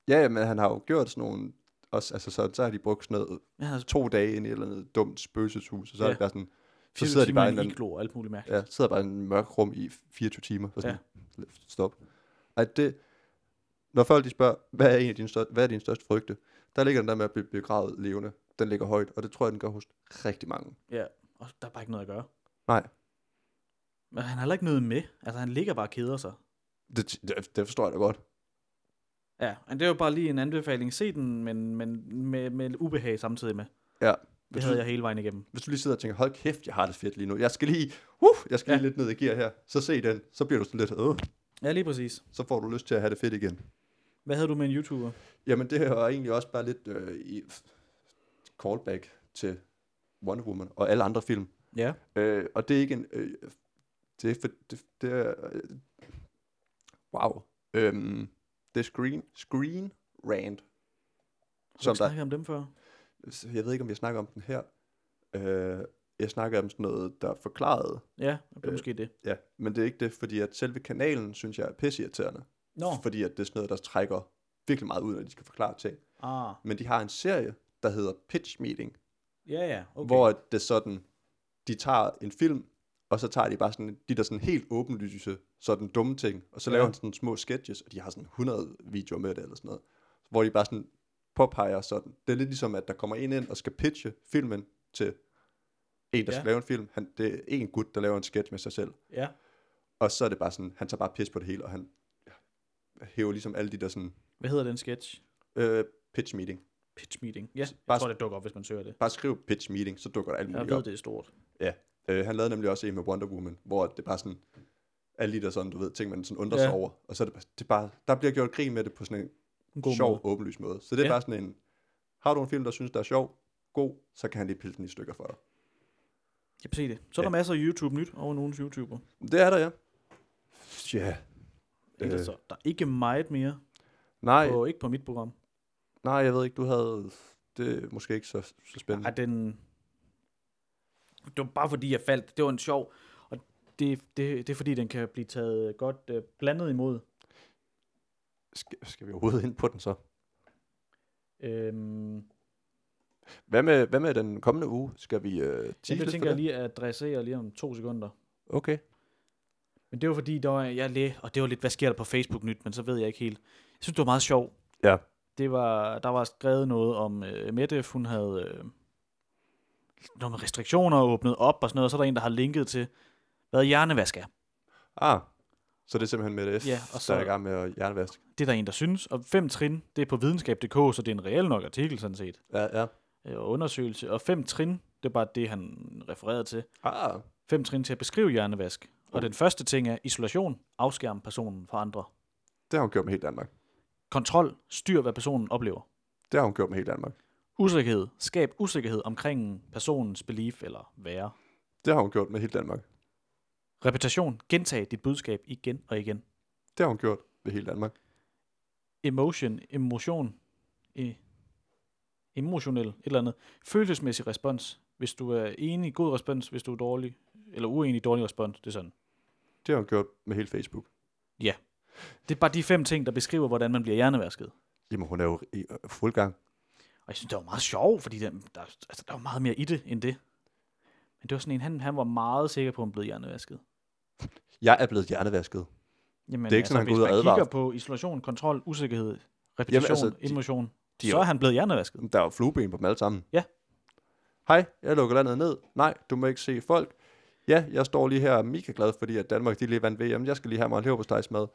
Speaker 1: ja, men han har jo gjort sådan nogle også, altså, så, så har de brugt sådan noget
Speaker 2: Jeg har
Speaker 1: to dage ind i et eller andet dumt spøgelseshus, og så ja. er
Speaker 2: Ja.
Speaker 1: det bare sådan, så
Speaker 2: 24
Speaker 1: sidder de bare i en eller anden-
Speaker 2: iglo og alt muligt mærkeligt.
Speaker 1: ja, sidder bare i en mørk rum i 24 timer. Og sådan, ja. Stop. Ej, det, når folk de spørger, hvad er, en af dine største, hvad er din største frygte? Der ligger den der med at blive begravet levende. Den ligger højt, og det tror jeg, den gør hos rigtig mange.
Speaker 2: Ja. Og der er bare ikke noget at gøre.
Speaker 1: Nej.
Speaker 2: Men han har heller ikke noget med. Altså, han ligger bare og keder sig.
Speaker 1: Det, det, det forstår jeg da godt.
Speaker 2: Ja, men det er jo bare lige en anbefaling. Se den, men, men med, med ubehag samtidig med.
Speaker 1: Ja.
Speaker 2: Det
Speaker 1: Hvis,
Speaker 2: havde
Speaker 1: du,
Speaker 2: jeg hele vejen igennem.
Speaker 1: hvis du lige sidder og tænker, hold kæft, jeg har det fedt lige nu. Jeg skal lige, uh, jeg skal lige
Speaker 2: Ja.
Speaker 1: lidt ned i gear her. Så se den, så bliver du sådan lidt, øh,
Speaker 2: Ja, lige præcis.
Speaker 1: så får du lyst til at have det fedt igen.
Speaker 2: Hvad havde du med en YouTuber?
Speaker 1: Jamen, det er egentlig også bare lidt øh, i callback til Wonder Woman og alle andre film.
Speaker 2: Ja.
Speaker 1: Øh, og det er ikke en... Øh, det er... For, det, det er øh, wow. Øhm, det er Screen, screen Rant.
Speaker 2: Har du
Speaker 1: Som
Speaker 2: ikke
Speaker 1: der,
Speaker 2: snakket om dem før?
Speaker 1: jeg ved ikke, om jeg snakker om den her. Øh, jeg snakker om sådan noget, der er forklaret.
Speaker 2: Ja, det er
Speaker 1: Øh,
Speaker 2: måske det.
Speaker 1: Ja, men det er ikke det, fordi at selve kanalen, synes jeg, er pisseirriterende.
Speaker 2: Nå.
Speaker 1: Fordi at det er sådan noget, der trækker virkelig meget ud, når de skal forklare ting.
Speaker 2: Ah,
Speaker 1: Men de har en serie, der hedder Pitch Meeting,
Speaker 2: ja, ja. Okay.
Speaker 1: okay. hvor at det er sådan, de tager en film, og så tager de bare sådan, de der sådan helt åbenlyse, sådan dumme ting, og så
Speaker 2: Ja.
Speaker 1: laver han sådan små sketches, og de har sådan 100 videoer med det eller sådan noget, hvor de bare sådan påpeger sådan, det er lidt ligesom, at der kommer en ind og skal pitche filmen til en, der ja.
Speaker 2: Ja.
Speaker 1: skal lave en film, han, det er en gut, der laver en sketch med sig selv,
Speaker 2: Ja,
Speaker 1: og så er det bare sådan, han tager bare pis på det hele, og han hæver ligesom alle de der sådan,
Speaker 2: hvad hedder den sketch?
Speaker 1: øh, pitch meeting.
Speaker 2: Pitch meeting. Ja,
Speaker 1: Bare-
Speaker 2: jeg tror, det dukker op, hvis man søger det.
Speaker 1: Bare skriv pitch meeting, så dukker der alt
Speaker 2: Jeg
Speaker 1: muligt op.
Speaker 2: ved, det er stort.
Speaker 1: Ja, øh, han lavede nemlig også en med Wonder Woman, hvor det bare sådan, alle de der sådan, du ved, ting, man sådan undrer sig
Speaker 2: Ja.
Speaker 1: over, og så er det, bare- det er bare, der bliver gjort grin med det på sådan en god
Speaker 2: En god
Speaker 1: sjov,
Speaker 2: måde.
Speaker 1: måde. åbenlys måde. Så det er ja.
Speaker 2: Ja.
Speaker 1: bare sådan en, har du en film, der synes, der er sjov, god, så kan han lige pille den i stykker for dig.
Speaker 2: Jeg kan se det. Så er der masser af YouTube-nyt over nogens YouTuber.
Speaker 1: Det er der, ja. Ja.
Speaker 2: Ellers
Speaker 1: Øh.
Speaker 2: så, der er ikke meget mere.
Speaker 1: Nej, Mm.
Speaker 2: På, ikke på mit program.
Speaker 1: nej, jeg ved ikke, du havde, det er måske ikke så, så spændende.
Speaker 2: Ej, den... Det var bare fordi, jeg faldt. Det var en sjov... Og det, det, det er fordi, den kan blive taget godt øh, blandet imod.
Speaker 1: Skal, skal vi overhovedet ind på den så?
Speaker 2: Øhm,
Speaker 1: Hvad med, hvad med den kommende uge? Skal vi øh, tease
Speaker 2: Jamen, det
Speaker 1: lidt
Speaker 2: tænker
Speaker 1: for
Speaker 2: jeg
Speaker 1: det?
Speaker 2: lige at adressere lige om to sekunder.
Speaker 1: Okay.
Speaker 2: Men det var fordi, der var, jeg læ og det var lidt, hvad sker der på Facebook nyt, men så ved jeg ikke helt. Jeg synes, det var meget sjovt.
Speaker 1: Ja.
Speaker 2: Det var, der var skrevet noget om øh, Mette, hun havde øh, noget med restriktioner og åbnet op og sådan noget, og så er der en, der har linket til, hvad hjernevask er.
Speaker 1: Ah, så det er simpelthen med det F,
Speaker 2: Ja,
Speaker 1: og
Speaker 2: og
Speaker 1: så... der er i
Speaker 2: så-
Speaker 1: gang med at hjernevaske.
Speaker 2: Det er der en, der synes. Og fem trin, det er på videnskab.dk, så det er en reel nok artikel sådan set.
Speaker 1: Ja, ja.
Speaker 2: Øh, og undersøgelse. Og fem trin, det er bare det, han refererede til.
Speaker 1: Ah,
Speaker 2: Fem trin til at beskrive hjernevask. Og den første ting er isolation, afskærm personen fra andre.
Speaker 1: det har hun gjort med hele Danmark.
Speaker 2: Kontrol, styr hvad personen oplever.
Speaker 1: Det har hun gjort med hele Danmark.
Speaker 2: Usikkerhed, skab usikkerhed omkring personens belief eller være.
Speaker 1: Det har hun gjort med hele Danmark.
Speaker 2: Reputation, gentag dit budskab igen og igen.
Speaker 1: Det har hun gjort med hele Danmark.
Speaker 2: Emotion, emotion, e- emotionel, et eller andet. Følelsesmæssig respons, hvis du er enig, god respons, hvis du er dårlig, eller uenig, dårlig respons, det er sådan.
Speaker 1: Det har hun gjort med hele Facebook.
Speaker 2: Det er bare de fem ting, der beskriver, hvordan man bliver hjernevasket.
Speaker 1: Jamen, hun er jo i øh, fuld gang.
Speaker 2: Og jeg synes, det var meget sjovt, fordi der, der, altså, der var meget mere i det, end det. Men det var sådan en, han, han var meget sikker på, at han blev hjernevasket.
Speaker 1: Jeg er blevet hjernevasket.
Speaker 2: Jamen, altså,
Speaker 1: Det er ikke sådan, han går ud og
Speaker 2: hvis
Speaker 1: advarer.
Speaker 2: man kigger på isolation, kontrol, usikkerhed, repetition,
Speaker 1: altså,
Speaker 2: altså,
Speaker 1: de-
Speaker 2: emotion,
Speaker 1: de er
Speaker 2: så
Speaker 1: jo-
Speaker 2: er han blevet hjernevasket.
Speaker 1: Der er jo flueben på dem alle sammen.
Speaker 2: Ja.
Speaker 1: Hej, jeg lukker landet ned. Nej, du må ikke se folk. Ja, jeg står lige her og er mega glad, fordi at Danmark de lige vandt VM. Jeg skal lige have mig en leverpostejsmad.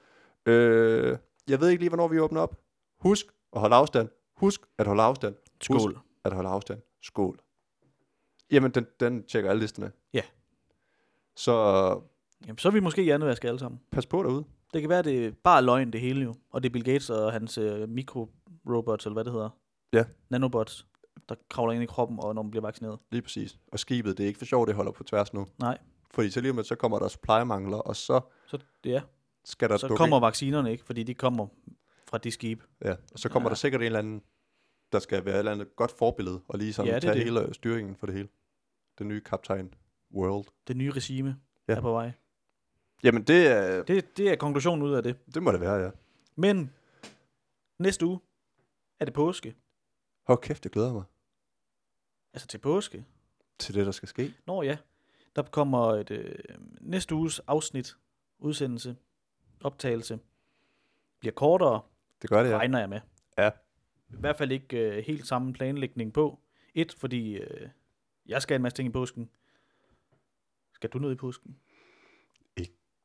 Speaker 1: Øh, jeg ved ikke lige, hvornår vi åbner op. Husk at holde afstand. Husk at holde afstand. Husk
Speaker 2: Skål.
Speaker 1: at holde afstand. Skål. Jamen, den, den tjekker alle listerne.
Speaker 2: Ja.
Speaker 1: Så øh,
Speaker 2: Jamen, så er vi måske hjernevasket alle sammen.
Speaker 1: pas på derude.
Speaker 2: Det kan være, det er bare løgn det hele jo. Og det er Bill Gates og hans øh, mikrorobots, eller hvad det hedder.
Speaker 1: Ja.
Speaker 2: Nanobots, der kravler ind i kroppen, og når man bliver vaccineret.
Speaker 1: Lige præcis. Og skibet, det er ikke for sjovt, det holder på tværs nu.
Speaker 2: Nej,
Speaker 1: Fordi så lige om lidt, så kommer der supply-mangler, og så
Speaker 2: så, ja.
Speaker 1: skal der
Speaker 2: så
Speaker 1: dukke
Speaker 2: kommer vaccinerne ikke, fordi de kommer fra de skibe.
Speaker 1: Ja, og så kommer ja.
Speaker 2: Ja.
Speaker 1: der sikkert en eller anden, der skal være et eller andet godt forbillede, og lige sådan
Speaker 2: Ja,
Speaker 1: ja,
Speaker 2: det er
Speaker 1: tage det.
Speaker 2: det.
Speaker 1: hele styringen for det hele. Den nye kaptajn World.
Speaker 2: Det nye regime
Speaker 1: Ja.
Speaker 2: ja. er på vej.
Speaker 1: Jamen, det, er,
Speaker 2: Det, det er konklusionen ud af det.
Speaker 1: det må det være, ja.
Speaker 2: Men næste uge er det påske.
Speaker 1: Hvor kæft, jeg glæder mig
Speaker 2: Altså til påske.
Speaker 1: til det, der skal ske.
Speaker 2: Nå ja, der kommer et, øh, næste uges afsnit, udsendelse, optagelse, bliver kortere,
Speaker 1: Det gør det,
Speaker 2: ja.
Speaker 1: ja.
Speaker 2: regner jeg med.
Speaker 1: Ja.
Speaker 2: I hvert fald ikke øh, helt samme planlægning på. Et, fordi øh, jeg skal en masse ting i påsken. Skal du ned i påsken?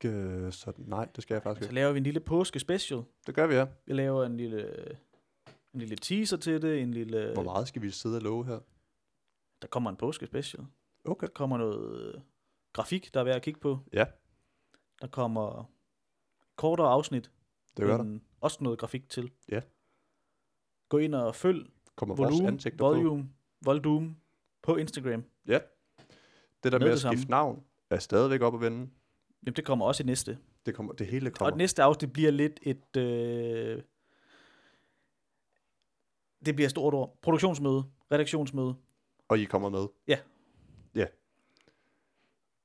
Speaker 1: Øh, så nej, det skal jeg faktisk
Speaker 2: Så
Speaker 1: ikke.
Speaker 2: laver vi en lille påske special.
Speaker 1: Det gør vi, ja.
Speaker 2: Vi laver en lille, øh, en lille teaser til det, en lille...
Speaker 1: Hvor meget skal vi sidde og love her?
Speaker 2: Der kommer en påske special.
Speaker 1: Okay.
Speaker 2: Der kommer noget øh, grafik, der er værd at kigge på.
Speaker 1: Ja.
Speaker 2: Der kommer kortere afsnit.
Speaker 1: Det gør der.
Speaker 2: men Også noget grafik til.
Speaker 1: Ja.
Speaker 2: Gå ind og følg
Speaker 1: Kommer vores
Speaker 2: volume,
Speaker 1: ansigter på.
Speaker 2: volume, volume på Instagram.
Speaker 1: Det der
Speaker 2: med
Speaker 1: med
Speaker 2: det
Speaker 1: at skifte
Speaker 2: samme.
Speaker 1: navn er stadigvæk op at vende.
Speaker 2: Jamen, det kommer også i næste. Kommer.
Speaker 1: Det, kommer, det hele
Speaker 2: Og det
Speaker 1: kommer.
Speaker 2: næste afsnit bliver lidt et... Øh, det bliver et stort ord. Produktionsmøde, redaktionsmøde.
Speaker 1: Og I kommer med.
Speaker 2: Ja.
Speaker 1: Ja.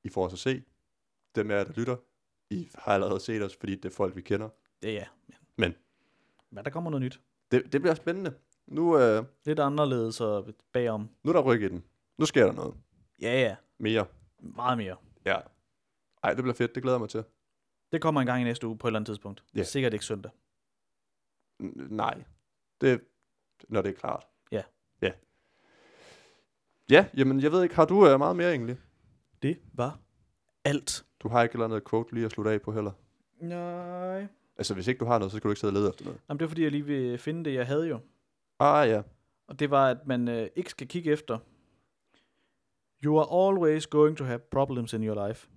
Speaker 1: I får os at se. Dem af jer, der lytter, I har allerede set os, fordi det er folk, vi kender.
Speaker 2: Ja, ja.
Speaker 1: Men.
Speaker 2: Men der kommer noget nyt.
Speaker 1: Det, det bliver spændende. Nu, øh,
Speaker 2: Lidt anderledes og bagom.
Speaker 1: nu er der ryk i den. Nu sker der noget.
Speaker 2: Ja, ja.
Speaker 1: Mere.
Speaker 2: Meget mere.
Speaker 1: Ja. Ej, det bliver fedt. Det glæder jeg mig til.
Speaker 2: Det kommer en gang i næste uge på et eller andet tidspunkt.
Speaker 1: Ja.
Speaker 2: Sikkert ikke søndag.
Speaker 1: N- nej. Det, når det er klart.
Speaker 2: Ja.
Speaker 1: Ja. Ja, jamen jeg ved ikke, har du øh, meget mere egentlig?
Speaker 2: Det var alt.
Speaker 1: Du har ikke et eller andet quote lige at slutte af på heller.
Speaker 2: Nej.
Speaker 1: Altså hvis ikke du har noget, så skal du ikke sidde og lede efter noget.
Speaker 2: Jamen, det er fordi, jeg lige vil finde det, jeg havde jo.
Speaker 1: Ah ja.
Speaker 2: Og det var, at man øh, ikke skal kigge efter. You are always going to have problems in your life.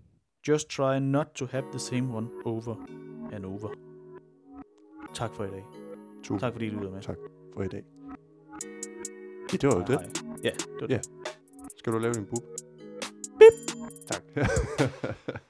Speaker 2: Just try not to have the same one over and over. Tak for i dag.
Speaker 1: Tusind
Speaker 2: Tak fordi I lyttede med.
Speaker 1: Tak for i dag. Ja, det var jo det.
Speaker 2: Hej. Ja, det var det.
Speaker 1: Ja. Skal du lave din bub? Bip. Tak.